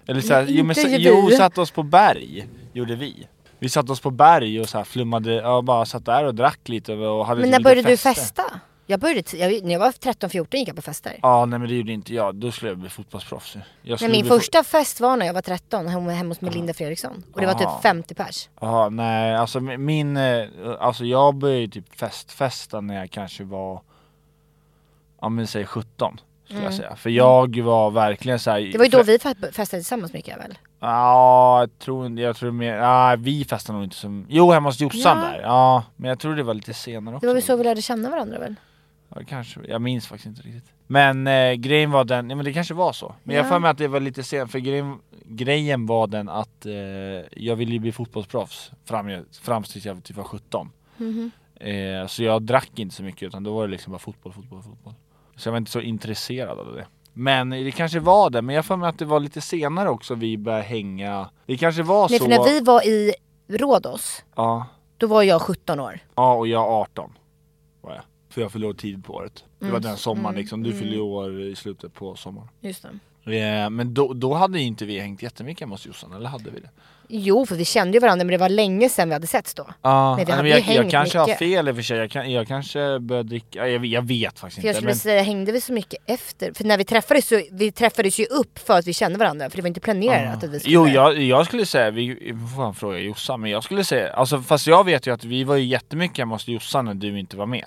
[SPEAKER 2] Eller så här, jo, men,
[SPEAKER 3] inte
[SPEAKER 2] så,
[SPEAKER 3] vi.
[SPEAKER 2] jo, satt oss på berg, gjorde vi. Vi satt oss på berg och så här flummade, ja, bara satt där och drack lite och hade
[SPEAKER 3] men
[SPEAKER 2] typ
[SPEAKER 3] när
[SPEAKER 2] lite
[SPEAKER 3] började du
[SPEAKER 2] fester.
[SPEAKER 3] festa? Jag började, t- jag, när jag var 13-14 gick jag på fester.
[SPEAKER 2] Ja nej men det gjorde inte jag, då skulle jag bli fotbollsproffs. Jag
[SPEAKER 3] Nej,
[SPEAKER 2] skulle
[SPEAKER 3] min
[SPEAKER 2] bli
[SPEAKER 3] första fest var när jag var 13 hemma
[SPEAKER 2] Ah.
[SPEAKER 3] hemma hos Melinda Fredriksson. Och det var
[SPEAKER 2] Aha.
[SPEAKER 3] typ 50 pers.
[SPEAKER 2] Ja, nej, alltså m- min, eh, alltså jag började ju typ festfesta när jag kanske var, ja men säg 17 skulle jag säga. För jag var verkligen såhär
[SPEAKER 3] Mm. Det var ju då vi fe- festade tillsammans mycket väl?
[SPEAKER 2] Ja, jag tror inte, jag tror mer, ja vi festade nog inte som, jo hemma hos Jossan
[SPEAKER 3] Ja.
[SPEAKER 2] där. Ja, men jag tror det var lite senare också.
[SPEAKER 3] Det var väl så vi lärde känna varandra väl?
[SPEAKER 2] Ja, kanske, jag minns faktiskt inte riktigt. Men eh, grejen var den, ja men det kanske var så. Men jag
[SPEAKER 3] Ja.
[SPEAKER 2] har för mig att det var lite sent, för grejen, grejen var den att eh, jag ville ju bli fotbollsproffs fram, fram tills jag typ var 17.
[SPEAKER 3] Mhm.
[SPEAKER 2] Eh, så jag drack inte så mycket utan då var det liksom bara fotboll, fotboll, fotboll. Så jag var inte så intresserad av det. Men det kanske var det, men jag har för mig att det var lite senare också vi började hänga. Det kanske var
[SPEAKER 3] Nej
[SPEAKER 2] Ah, så.
[SPEAKER 3] för när vi var i Rhodos,
[SPEAKER 2] Ja,
[SPEAKER 3] då var jag 17 år.
[SPEAKER 2] ja och jag 18 var jag. För jag fyllde år tid på året. Det var den sommaren liksom, du fyllde ju år i slutet på sommaren.
[SPEAKER 3] Just det.
[SPEAKER 2] Eh, Men då, då hade ju inte vi hängt jättemycket hemma hos Jossan, eller hade vi det?
[SPEAKER 3] Jo för vi kände ju varandra men det var länge sedan vi hade setts då.
[SPEAKER 2] Ja,
[SPEAKER 3] Nej, Ah, vi
[SPEAKER 2] Ah, nej,
[SPEAKER 3] hade
[SPEAKER 2] men
[SPEAKER 3] ju
[SPEAKER 2] jag, jag
[SPEAKER 3] hängt
[SPEAKER 2] kanske har
[SPEAKER 3] mycket.
[SPEAKER 2] fel i och för sig, jag, kan, jag kanske började dricka, jag, jag vet faktiskt
[SPEAKER 3] För jag
[SPEAKER 2] inte.
[SPEAKER 3] skulle
[SPEAKER 2] Men,
[SPEAKER 3] säga, hängde vi så mycket efter? För när vi träffades så, vi träffades ju upp för att vi kände varandra för det var inte planerat att vi skulle
[SPEAKER 2] Ah. jo, jag, jag skulle säga, vi vi får fan fråga Jossan, men jag skulle säga, alltså, fast jag vet ju att vi var ju jättemycket hemma hos Jossan när du inte var med.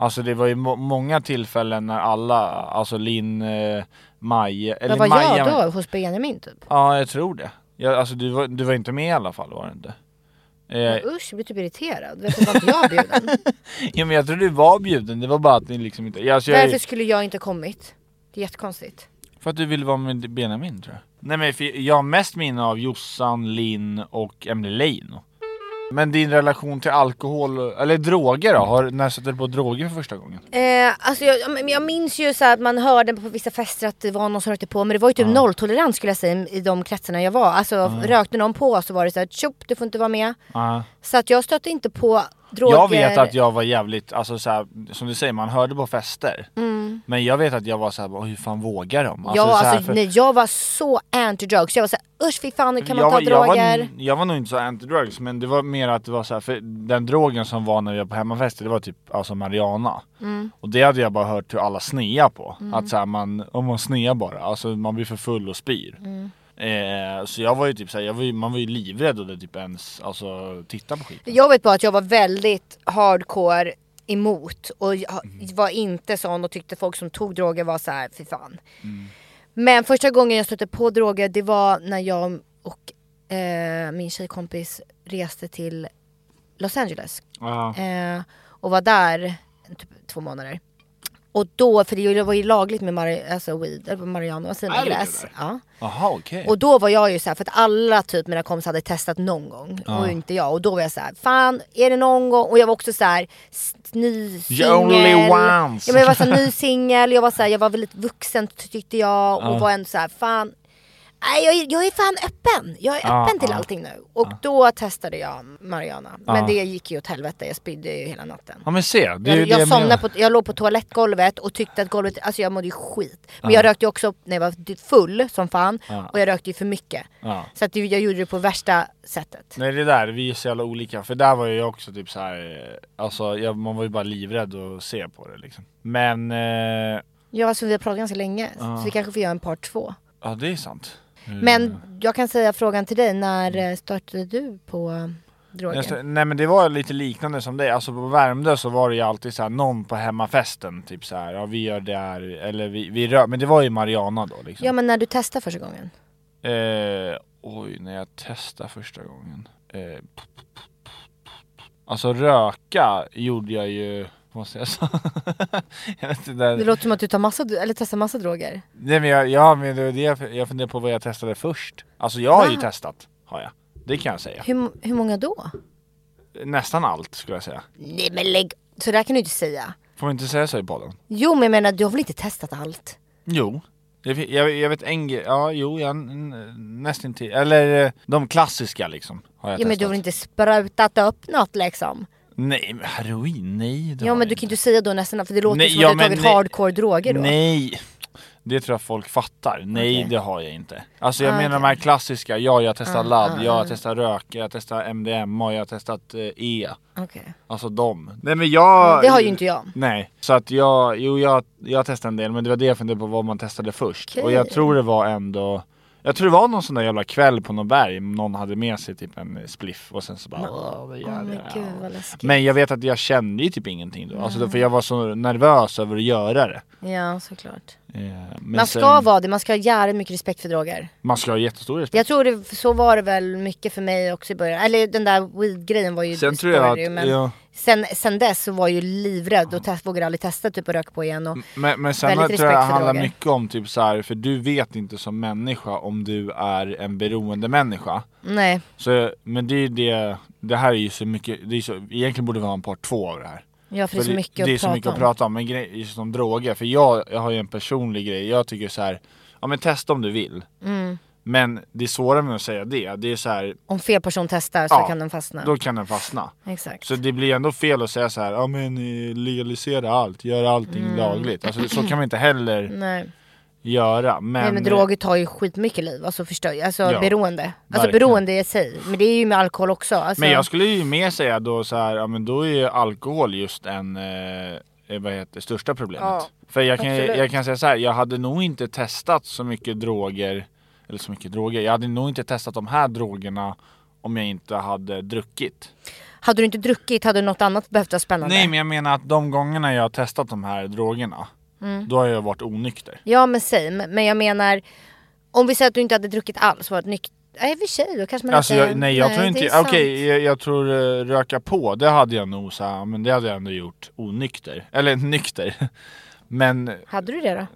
[SPEAKER 2] Alltså det var ju må- många tillfällen när alla, alltså Linn, eh, Maja, eller
[SPEAKER 3] Vad var
[SPEAKER 2] Maja,
[SPEAKER 3] jag
[SPEAKER 2] men-
[SPEAKER 3] då? Hos Benjamin typ?
[SPEAKER 2] Ja, jag tror det. Jag, alltså du var, du var inte med i alla fall, var du inte? Eh,
[SPEAKER 3] Usch jag blir typ irriterad. Varför var inte jag bjuden?
[SPEAKER 2] Ja men jag tror du var bjuden, det var bara att ni liksom inte... Alltså, jag,
[SPEAKER 3] Varför skulle jag inte kommit? Det är jättekonstigt.
[SPEAKER 2] För att du ville vara med Benjamin tror jag. Nej men för jag har mest minne av Jossan, Linn och Emily Leino. Men din relation till alkohol, eller droger då? Har, när satte du på droger för första gången?
[SPEAKER 3] Eh, alltså jag, ja, men jag minns ju så här att man hörde på vissa fester att det var någon som rökte på men det var ju typ
[SPEAKER 2] Ah.
[SPEAKER 3] nolltolerans skulle jag säga i de kretsarna jag var. Alltså rökte någon på så var det så här tjopp du får inte vara med.
[SPEAKER 2] Ja.
[SPEAKER 3] Så att jag stötte inte på Eh, droger.
[SPEAKER 2] Ah. Jag vet att jag var jävligt, alltså så här, som du säger man hörde på fester. Men jag vet att jag var såhär, hur fan vågar de?
[SPEAKER 3] Mm. ja,
[SPEAKER 2] så här,
[SPEAKER 3] alltså,
[SPEAKER 2] för-
[SPEAKER 3] nej, jag var så anti-drugs. Jag var såhär usch fy fan kan man
[SPEAKER 2] jag,
[SPEAKER 3] ta
[SPEAKER 2] var- jag,
[SPEAKER 3] droger?
[SPEAKER 2] var, jag var nog inte så anti-drugs men det var mer att det var så här, för den drogen som var när vi var på hemmafester det var typ alltså marijuana.
[SPEAKER 3] Mm.
[SPEAKER 2] Och det hade jag bara hört hur alla snear på. Att så här, man, om man snear bara, alltså man blir för full och spyr.
[SPEAKER 3] Mm.
[SPEAKER 2] Eh, så jag var ju typ så här, jag var ju, man var ju livrädd och det typ ens alltså, titta på skiten.
[SPEAKER 3] Jag vet bara att jag var väldigt hardcore emot och jag
[SPEAKER 2] Mm.
[SPEAKER 3] var inte sån och tyckte folk som tog droger var så här, fy fan.
[SPEAKER 2] Mm.
[SPEAKER 3] Men första gången jag stötte på droger det var när jag och eh, min tjejkompis reste till Los Angeles
[SPEAKER 2] Ja.
[SPEAKER 3] eh, och var där typ två månader. Och då, för det var ju lagligt med mari- alltså weed, eller marijuana, vad säger
[SPEAKER 2] Är
[SPEAKER 3] man?
[SPEAKER 2] det det
[SPEAKER 3] Gräs.
[SPEAKER 2] där?
[SPEAKER 3] Ja.
[SPEAKER 2] Jaha okej.
[SPEAKER 3] Och då var jag ju såhär, för att alla typ mina kompisar hade testat någon gång och inte jag. Och då var jag såhär, fan är det någon gång? Och jag var också såhär, s- ny singel.
[SPEAKER 2] only once.
[SPEAKER 3] Ja, men jag var såhär ny singel, jag var såhär, jag var väldigt vuxen tyckte jag. Och var ändå såhär, fan. Nej jag, är- jag är fan öppen. Jag är
[SPEAKER 2] Ja,
[SPEAKER 3] öppen till
[SPEAKER 2] ja.
[SPEAKER 3] allting nu. Och då testade jag Mariana. Men det gick ju åt helvete, jag spydde ju hela natten.
[SPEAKER 2] Ja men se, det är ju
[SPEAKER 3] Jag,
[SPEAKER 2] det
[SPEAKER 3] jag,
[SPEAKER 2] menar.
[SPEAKER 3] somnade på, jag låg på toalettgolvet och tyckte att golvet, alltså jag mådde ju skit. Men jag rökte ju också när jag var full som fan och jag rökte ju för mycket.
[SPEAKER 2] Ja.
[SPEAKER 3] Så att det- jag gjorde det på värsta sättet.
[SPEAKER 2] Nej det där, vi är så jävla olika. För där var jag också typ så här, eh, alltså jag, man var ju bara livrädd att se på det liksom. Men, eh,
[SPEAKER 3] Ja alltså vi har pratat ganska länge så vi kanske får göra en part två.
[SPEAKER 2] ja det är sant. Mm.
[SPEAKER 3] Men jag kan säga frågan till dig, när eh, startade du på um, drogen?
[SPEAKER 2] Just det. nej men det var lite liknande som dig, alltså på Värmdö så var det ju alltid så här, någon på hemmafesten typ så här, ja vi gör det här, eller vi, vi rör, men det var ju Mariana då liksom.
[SPEAKER 3] Ja men när du testade första gången?
[SPEAKER 2] Eh, oj, när jag testade första gången. Eh, alltså röka gjorde jag ju, måste jag säga. jag vet inte,
[SPEAKER 3] Det
[SPEAKER 2] där-
[SPEAKER 3] låter som att du tar massa, eller testar massa droger.
[SPEAKER 2] Nej men jag, ja, men det var det jag, jag funderar på vad jag testade först. Alltså jag har ju
[SPEAKER 3] Va?
[SPEAKER 2] testat, har jag. Det kan jag säga.
[SPEAKER 3] Hur, hur många då?
[SPEAKER 2] Nästan allt skulle jag säga.
[SPEAKER 3] Nej men lägg... Så där kan du inte säga.
[SPEAKER 2] Får man inte säga så i podden?
[SPEAKER 3] Jo men jag menar du har väl inte testat allt?
[SPEAKER 2] Jo. Jag, fi- jag, jag vet en grej- ja jo, jag, n- nästintill. Eller eh, de klassiska liksom. Har jag
[SPEAKER 3] Ja men
[SPEAKER 2] testat.
[SPEAKER 3] du har väl inte sprutat upp något liksom?
[SPEAKER 2] Nej, men heroin, nej. det
[SPEAKER 3] Ja
[SPEAKER 2] har
[SPEAKER 3] men
[SPEAKER 2] jag
[SPEAKER 3] du kan ju inte säga då nästan, för det låter
[SPEAKER 2] Nej,
[SPEAKER 3] ju som
[SPEAKER 2] ja,
[SPEAKER 3] att du
[SPEAKER 2] men
[SPEAKER 3] har tagit
[SPEAKER 2] nej.
[SPEAKER 3] hardcore droger då.
[SPEAKER 2] Nej, det tror jag folk fattar. Nej,
[SPEAKER 3] Okej. Ah,
[SPEAKER 2] det har jag inte. Alltså jag menar de här klassiska. Ja, jag har testat ladd, ja, jag har testat röka, jag har testat MDMA, jag har testat eh, E.
[SPEAKER 3] Okej.
[SPEAKER 2] Alltså dem. Nej men jag...
[SPEAKER 3] Det har ju inte jag.
[SPEAKER 2] Nej, så att jag, jo jag, jag testade en del men det var det jag funderade på vad man testade först.
[SPEAKER 3] Okej.
[SPEAKER 2] Och jag tror det var ändå, jag tror det var någon sån där jävla kväll på någon berg, någon hade med sig typ en eh, spliff och sen så bara åh, vad gör
[SPEAKER 3] men
[SPEAKER 2] jag?"
[SPEAKER 3] gud, vad läskigt.
[SPEAKER 2] Men jag vet att jag kände ju typ ingenting då, alltså, för jag var så nervös över att göra det.
[SPEAKER 3] Ja såklart.
[SPEAKER 2] Eh, men
[SPEAKER 3] Man ska
[SPEAKER 2] sen-
[SPEAKER 3] vara det, man ska ha jävligt mycket respekt för droger.
[SPEAKER 2] Man ska ha jättestor respekt.
[SPEAKER 3] Jag tror det, så var det väl mycket för mig också i början. Eller den där weed-grejen var ju
[SPEAKER 2] Sen tror jag
[SPEAKER 3] spårade ju,
[SPEAKER 2] att-
[SPEAKER 3] men
[SPEAKER 2] ja.
[SPEAKER 3] sen, sen dess så var jag ju livrädd och test, vågade aldrig testa typ att röka på igen. Och,
[SPEAKER 2] Men, men sen
[SPEAKER 3] Väldigt
[SPEAKER 2] tror jag
[SPEAKER 3] respekt
[SPEAKER 2] det
[SPEAKER 3] för
[SPEAKER 2] handlar
[SPEAKER 3] droger.
[SPEAKER 2] mycket om typ så här, för du vet inte som människa om du är en beroende människa.
[SPEAKER 3] nej,
[SPEAKER 2] Så, men det är ju det, det här är ju så mycket, det är så, egentligen borde vi ha en part två av det här.
[SPEAKER 3] ja, för det är så mycket,
[SPEAKER 2] det,
[SPEAKER 3] att,
[SPEAKER 2] är så
[SPEAKER 3] prata
[SPEAKER 2] mycket att
[SPEAKER 3] om.
[SPEAKER 2] prata om, men grej, just om droger, för jag, jag har ju en personlig grej, jag tycker så här, ja men testa om du vill.
[SPEAKER 3] Mm.
[SPEAKER 2] Men det svåra med att säga det, det är så här,
[SPEAKER 3] Om fel person testar så
[SPEAKER 2] Ja,
[SPEAKER 3] kan den fastna.
[SPEAKER 2] då kan den fastna.
[SPEAKER 3] Exakt.
[SPEAKER 2] Så det blir ändå fel att säga så här, ja men eh, legalisera allt, gör allting
[SPEAKER 3] Mm.
[SPEAKER 2] lagligt. Alltså så kan man inte heller
[SPEAKER 3] nej.
[SPEAKER 2] göra. Men,
[SPEAKER 3] Mm.
[SPEAKER 2] eh,
[SPEAKER 3] nej men droger tar ju skitmycket liv, alltså förstör, alltså
[SPEAKER 2] Ehm, Ja,
[SPEAKER 3] beroende. Alltså
[SPEAKER 2] verkligen.
[SPEAKER 3] beroende i sig, men det är ju med alkohol också. Alltså,
[SPEAKER 2] Men jag skulle ju mer säga då så här, ja men då är ju alkohol just en, eh, eh, vad heter det, största problemet.
[SPEAKER 3] Ja,
[SPEAKER 2] För jag kan,
[SPEAKER 3] absolut.
[SPEAKER 2] jag kan säga så här, jag hade nog inte testat så mycket droger, eller så mycket droger, jag hade nog inte testat de här drogerna om jag inte hade druckit.
[SPEAKER 3] Hade du inte druckit hade något annat behövt vara spännande.
[SPEAKER 2] Nej men jag menar att de gångerna jag har testat de här drogerna, då har jag varit onykter.
[SPEAKER 3] Ja Mm. men same, men jag menar om vi säger att du inte hade druckit alls, varit nykter, nej i och för sig då kanske man
[SPEAKER 2] Alltså
[SPEAKER 3] inte...
[SPEAKER 2] jag, nej jag tror
[SPEAKER 3] det
[SPEAKER 2] inte,
[SPEAKER 3] är
[SPEAKER 2] okej
[SPEAKER 3] sant.
[SPEAKER 2] jag, jag tror eh, röka på, det hade jag nog så här, men det hade jag ändå gjort onykter. Eller nykter. Men
[SPEAKER 3] Hade du det då?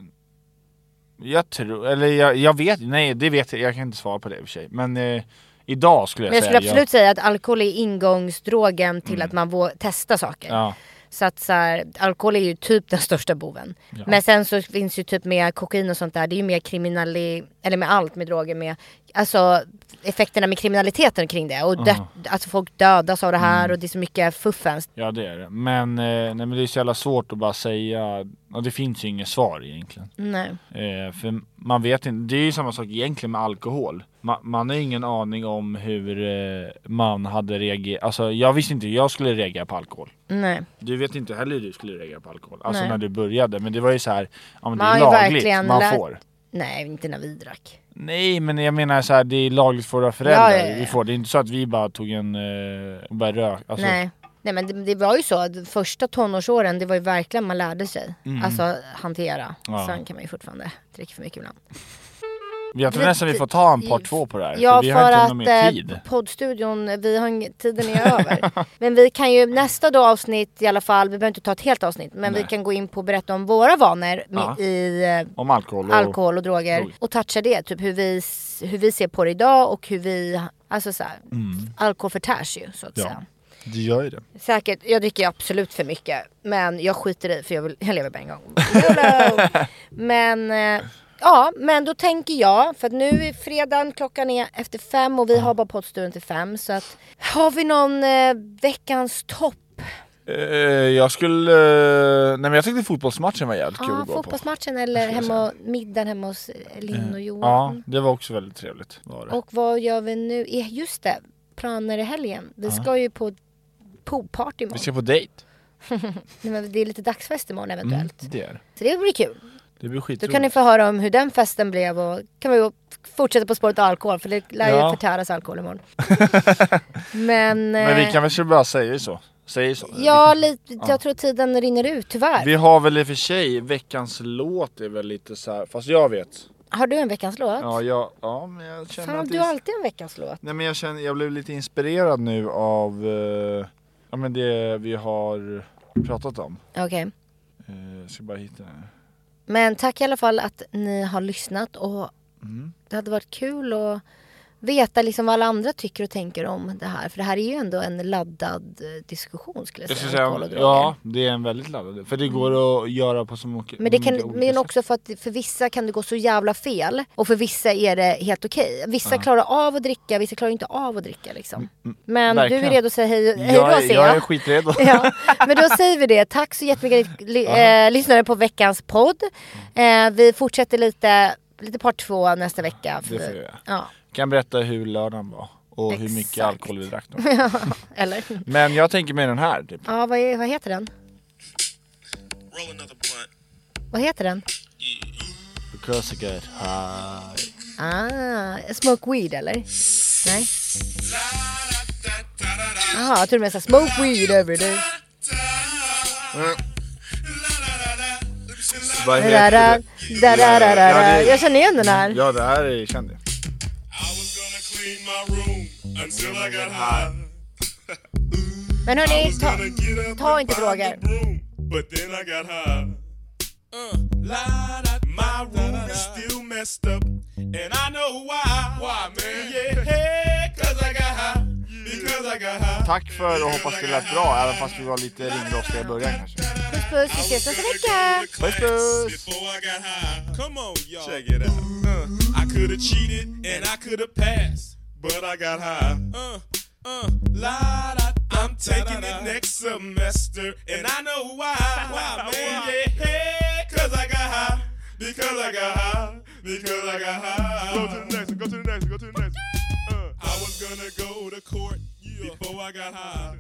[SPEAKER 2] Jag tror, eller jag, jag vet, nej det vet jag, jag kan inte svara på det i och för sig. Men eh, idag skulle jag,
[SPEAKER 3] Men jag skulle
[SPEAKER 2] säga Mm.
[SPEAKER 3] absolut säga att alkohol är ingångsdrogen till att man vågar testa saker.
[SPEAKER 2] Ja,
[SPEAKER 3] Så att så här, alkohol är ju typ den största boven. Men sen så finns ju typ med kokain och sånt där, det är ju mer kriminali... Eller med allt med droger med, alltså effekterna med kriminaliteten kring det. Och dö- alltså folk dödas av det
[SPEAKER 2] Mm.
[SPEAKER 3] här och det är så mycket fuffens.
[SPEAKER 2] ja det är det. Men, eh, nej, men det är så jävla svårt att bara säga, ja, det finns ju inget svar egentligen.
[SPEAKER 3] Nej.
[SPEAKER 2] Eh, för man vet inte, det är ju samma sak egentligen med alkohol. Ma, man har ingen aning om hur eh, man hade reagerat, alltså jag visste inte hur jag skulle reagera på alkohol.
[SPEAKER 3] Nej.
[SPEAKER 2] Du vet inte heller hur du skulle reagera på alkohol, alltså
[SPEAKER 3] Nej.
[SPEAKER 2] när du började. Men det var ju så här, ja men det
[SPEAKER 3] Man
[SPEAKER 2] är
[SPEAKER 3] har ju
[SPEAKER 2] lagligt,
[SPEAKER 3] verkligen
[SPEAKER 2] man
[SPEAKER 3] lärt-
[SPEAKER 2] får.
[SPEAKER 3] Nej, inte när vi drack.
[SPEAKER 2] Nej men jag menar så här, det är lagligt för våra föräldrar
[SPEAKER 3] Ja, ja, ja.
[SPEAKER 2] vi får. Det är inte så att vi bara tog en eh, och började röka. Alltså,
[SPEAKER 3] Nej. Nej men det, det var ju så att första tonårsåren det var ju verkligen man lärde sig. Alltså hantera.
[SPEAKER 2] Mm. Ja.
[SPEAKER 3] Sen kan man ju fortfarande dricka för mycket ibland.
[SPEAKER 2] Jag tror nästan vi får ta en part två på det här.
[SPEAKER 3] Ja
[SPEAKER 2] för vi har
[SPEAKER 3] för
[SPEAKER 2] inte
[SPEAKER 3] att
[SPEAKER 2] någon mer
[SPEAKER 3] eh,
[SPEAKER 2] tid.
[SPEAKER 3] poddstudion, vi har ing- tiden är över. men vi kan ju nästa då avsnitt i alla fall, vi behöver inte ta ett helt avsnitt. Men vi
[SPEAKER 2] Nej.
[SPEAKER 3] kan gå in på och berätta om våra vanor med,
[SPEAKER 2] Ja.
[SPEAKER 3] i eh,
[SPEAKER 2] Om alkohol och...
[SPEAKER 3] alkohol och droger.
[SPEAKER 2] Droger.
[SPEAKER 3] Och toucha det, typ hur vi, s- hur vi ser på det idag och hur vi, alltså såhär, alkohol förtärs ju så att
[SPEAKER 2] Mm. Ja.
[SPEAKER 3] säga.
[SPEAKER 2] Det gör ju det.
[SPEAKER 3] Säkert, jag dricker ju absolut för mycket. Men jag skiter i för jag, vill, jag lever bara en gång. YOLO! men eh, ja, men då tänker jag, för att nu är fredagen, klockan är efter fem och vi har bara poddstudion till fem. Så att, har vi någon eh, veckans topp?
[SPEAKER 2] Eh, jag skulle... eh, nej men jag tyckte fotbollsmatchen var jävligt kul
[SPEAKER 3] Ja,
[SPEAKER 2] att gå på.
[SPEAKER 3] fotbollsmatchen eller
[SPEAKER 2] Ska jag
[SPEAKER 3] hemma, middagen hemma hos eh, Linn och
[SPEAKER 2] Ja,
[SPEAKER 3] Johan.
[SPEAKER 2] det var också väldigt trevligt. Var det.
[SPEAKER 3] Och vad gör vi nu? Eh, Just det, planer i helgen. Vi ska ju på poolparty
[SPEAKER 2] Vi
[SPEAKER 3] imorgon.
[SPEAKER 2] ska på dejt.
[SPEAKER 3] Nej, men Det är lite dagsfest imorgon
[SPEAKER 2] Mm,
[SPEAKER 3] eventuellt.
[SPEAKER 2] det är det.
[SPEAKER 3] Så det blir kul.
[SPEAKER 2] Det blir
[SPEAKER 3] Då
[SPEAKER 2] skitroligt.
[SPEAKER 3] kan ni få höra om hur den festen blev och kan vi ju fortsätta på spåret alkohol för det lär ju
[SPEAKER 2] Ja.
[SPEAKER 3] förtäras alkohol imorgon. Men,
[SPEAKER 2] Men vi
[SPEAKER 3] eh,
[SPEAKER 2] kan väl bara säga så. Säg så.
[SPEAKER 3] ja, lite, jag tror tiden rinner ut tyvärr.
[SPEAKER 2] Vi har väl i och för sig, veckans låt är väl lite så här, fast jag vet.
[SPEAKER 3] Har du en veckans låt?
[SPEAKER 2] Ja, jag, ja men jag känner
[SPEAKER 3] Fan,
[SPEAKER 2] att
[SPEAKER 3] du
[SPEAKER 2] det
[SPEAKER 3] har
[SPEAKER 2] är-
[SPEAKER 3] alltid en veckans låt.
[SPEAKER 2] Nej men jag känner, jag blev lite inspirerad nu av eh, ja, men det vi har pratat om.
[SPEAKER 3] Okej.
[SPEAKER 2] Eh, jag ska bara hitta den här. Mm.
[SPEAKER 3] Men tack i alla fall att ni har lyssnat och det hade varit kul att veta liksom vad alla andra tycker och tänker om det här. För det här är ju ändå en laddad eh, diskussion skulle jag
[SPEAKER 2] Jag
[SPEAKER 3] säga.
[SPEAKER 2] skulle
[SPEAKER 3] om alkohol
[SPEAKER 2] säga,
[SPEAKER 3] och droger.
[SPEAKER 2] ja, det är en väldigt laddad. För det går att göra på så mycket
[SPEAKER 3] Mm. Men, det kan,
[SPEAKER 2] många Mm, olika
[SPEAKER 3] men
[SPEAKER 2] sätt.
[SPEAKER 3] också för att för vissa kan det gå så jävla fel och för vissa är det helt okej. Vissa klarar av att dricka, vissa klarar inte av att dricka liksom. Men du är
[SPEAKER 2] Mm, verkligen.
[SPEAKER 3] redo att säga hej, hej då
[SPEAKER 2] jag,
[SPEAKER 3] ser
[SPEAKER 2] är- jag är skitredo.
[SPEAKER 3] Ja, men då säger vi det. Tack så jättemycket li, eh, lyssnare på veckans podd.
[SPEAKER 2] Mm.
[SPEAKER 3] Eh, vi fortsätter lite, lite part två nästa vecka.
[SPEAKER 2] Det får vi göra.
[SPEAKER 3] Ja,
[SPEAKER 2] kan berätta hur lördagen var och hur mycket
[SPEAKER 3] Exakt.
[SPEAKER 2] alkohol vi drack. då.
[SPEAKER 3] eller?
[SPEAKER 2] Men jag tänker mig den här. Typ.
[SPEAKER 3] Ja, vad, är, vad heter den?
[SPEAKER 6] Roll another blunt.
[SPEAKER 3] Vad heter den?
[SPEAKER 2] Because I got high.
[SPEAKER 3] Ah, smoke weed eller? Nej?
[SPEAKER 6] La, da, da, da, da, da,
[SPEAKER 3] Jaha, jag trodde du menade så här, smoke weed every day.
[SPEAKER 6] da. La, da, da,
[SPEAKER 2] Vad
[SPEAKER 3] Da, da,
[SPEAKER 6] da.
[SPEAKER 2] heter
[SPEAKER 3] da, da, da, da,
[SPEAKER 2] Ja,
[SPEAKER 3] da.
[SPEAKER 2] det-
[SPEAKER 3] Jag känner igen den här.
[SPEAKER 2] det? Ja, det här är känd.
[SPEAKER 6] I was gonna clean my room until I got high.
[SPEAKER 3] Men
[SPEAKER 6] I
[SPEAKER 3] hörni,
[SPEAKER 6] was
[SPEAKER 3] ta,
[SPEAKER 6] gonna get up
[SPEAKER 3] ta
[SPEAKER 6] and
[SPEAKER 3] inte
[SPEAKER 6] find
[SPEAKER 3] droger.
[SPEAKER 6] the broom, But then I got high. Uh, la, da, my room is still messed up, and I know why. Why, man? Yeah, hey, 'cause I got high. Because I got high.
[SPEAKER 2] Tack för och hoppas det lät bra, även fast vi var lite ringrostiga i början kanske.
[SPEAKER 3] Puss puss, vi ses nästa vecka.
[SPEAKER 2] Puss, puss.
[SPEAKER 6] Before I got high. Come on, y'all. Check it out. Uh, I could have cheated and I could have passed, but I got high. Uh, uh, la, da, I'm taking it next semester, and I know why. Why, man? Yeah, hey, cause I got high. Because I got high. Because I got high. Go to the next one. Go to the next one. Go to the next one. Uh, I was gonna go to court before I got high.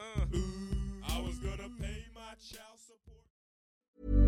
[SPEAKER 6] Uh, I was gonna pay my child support.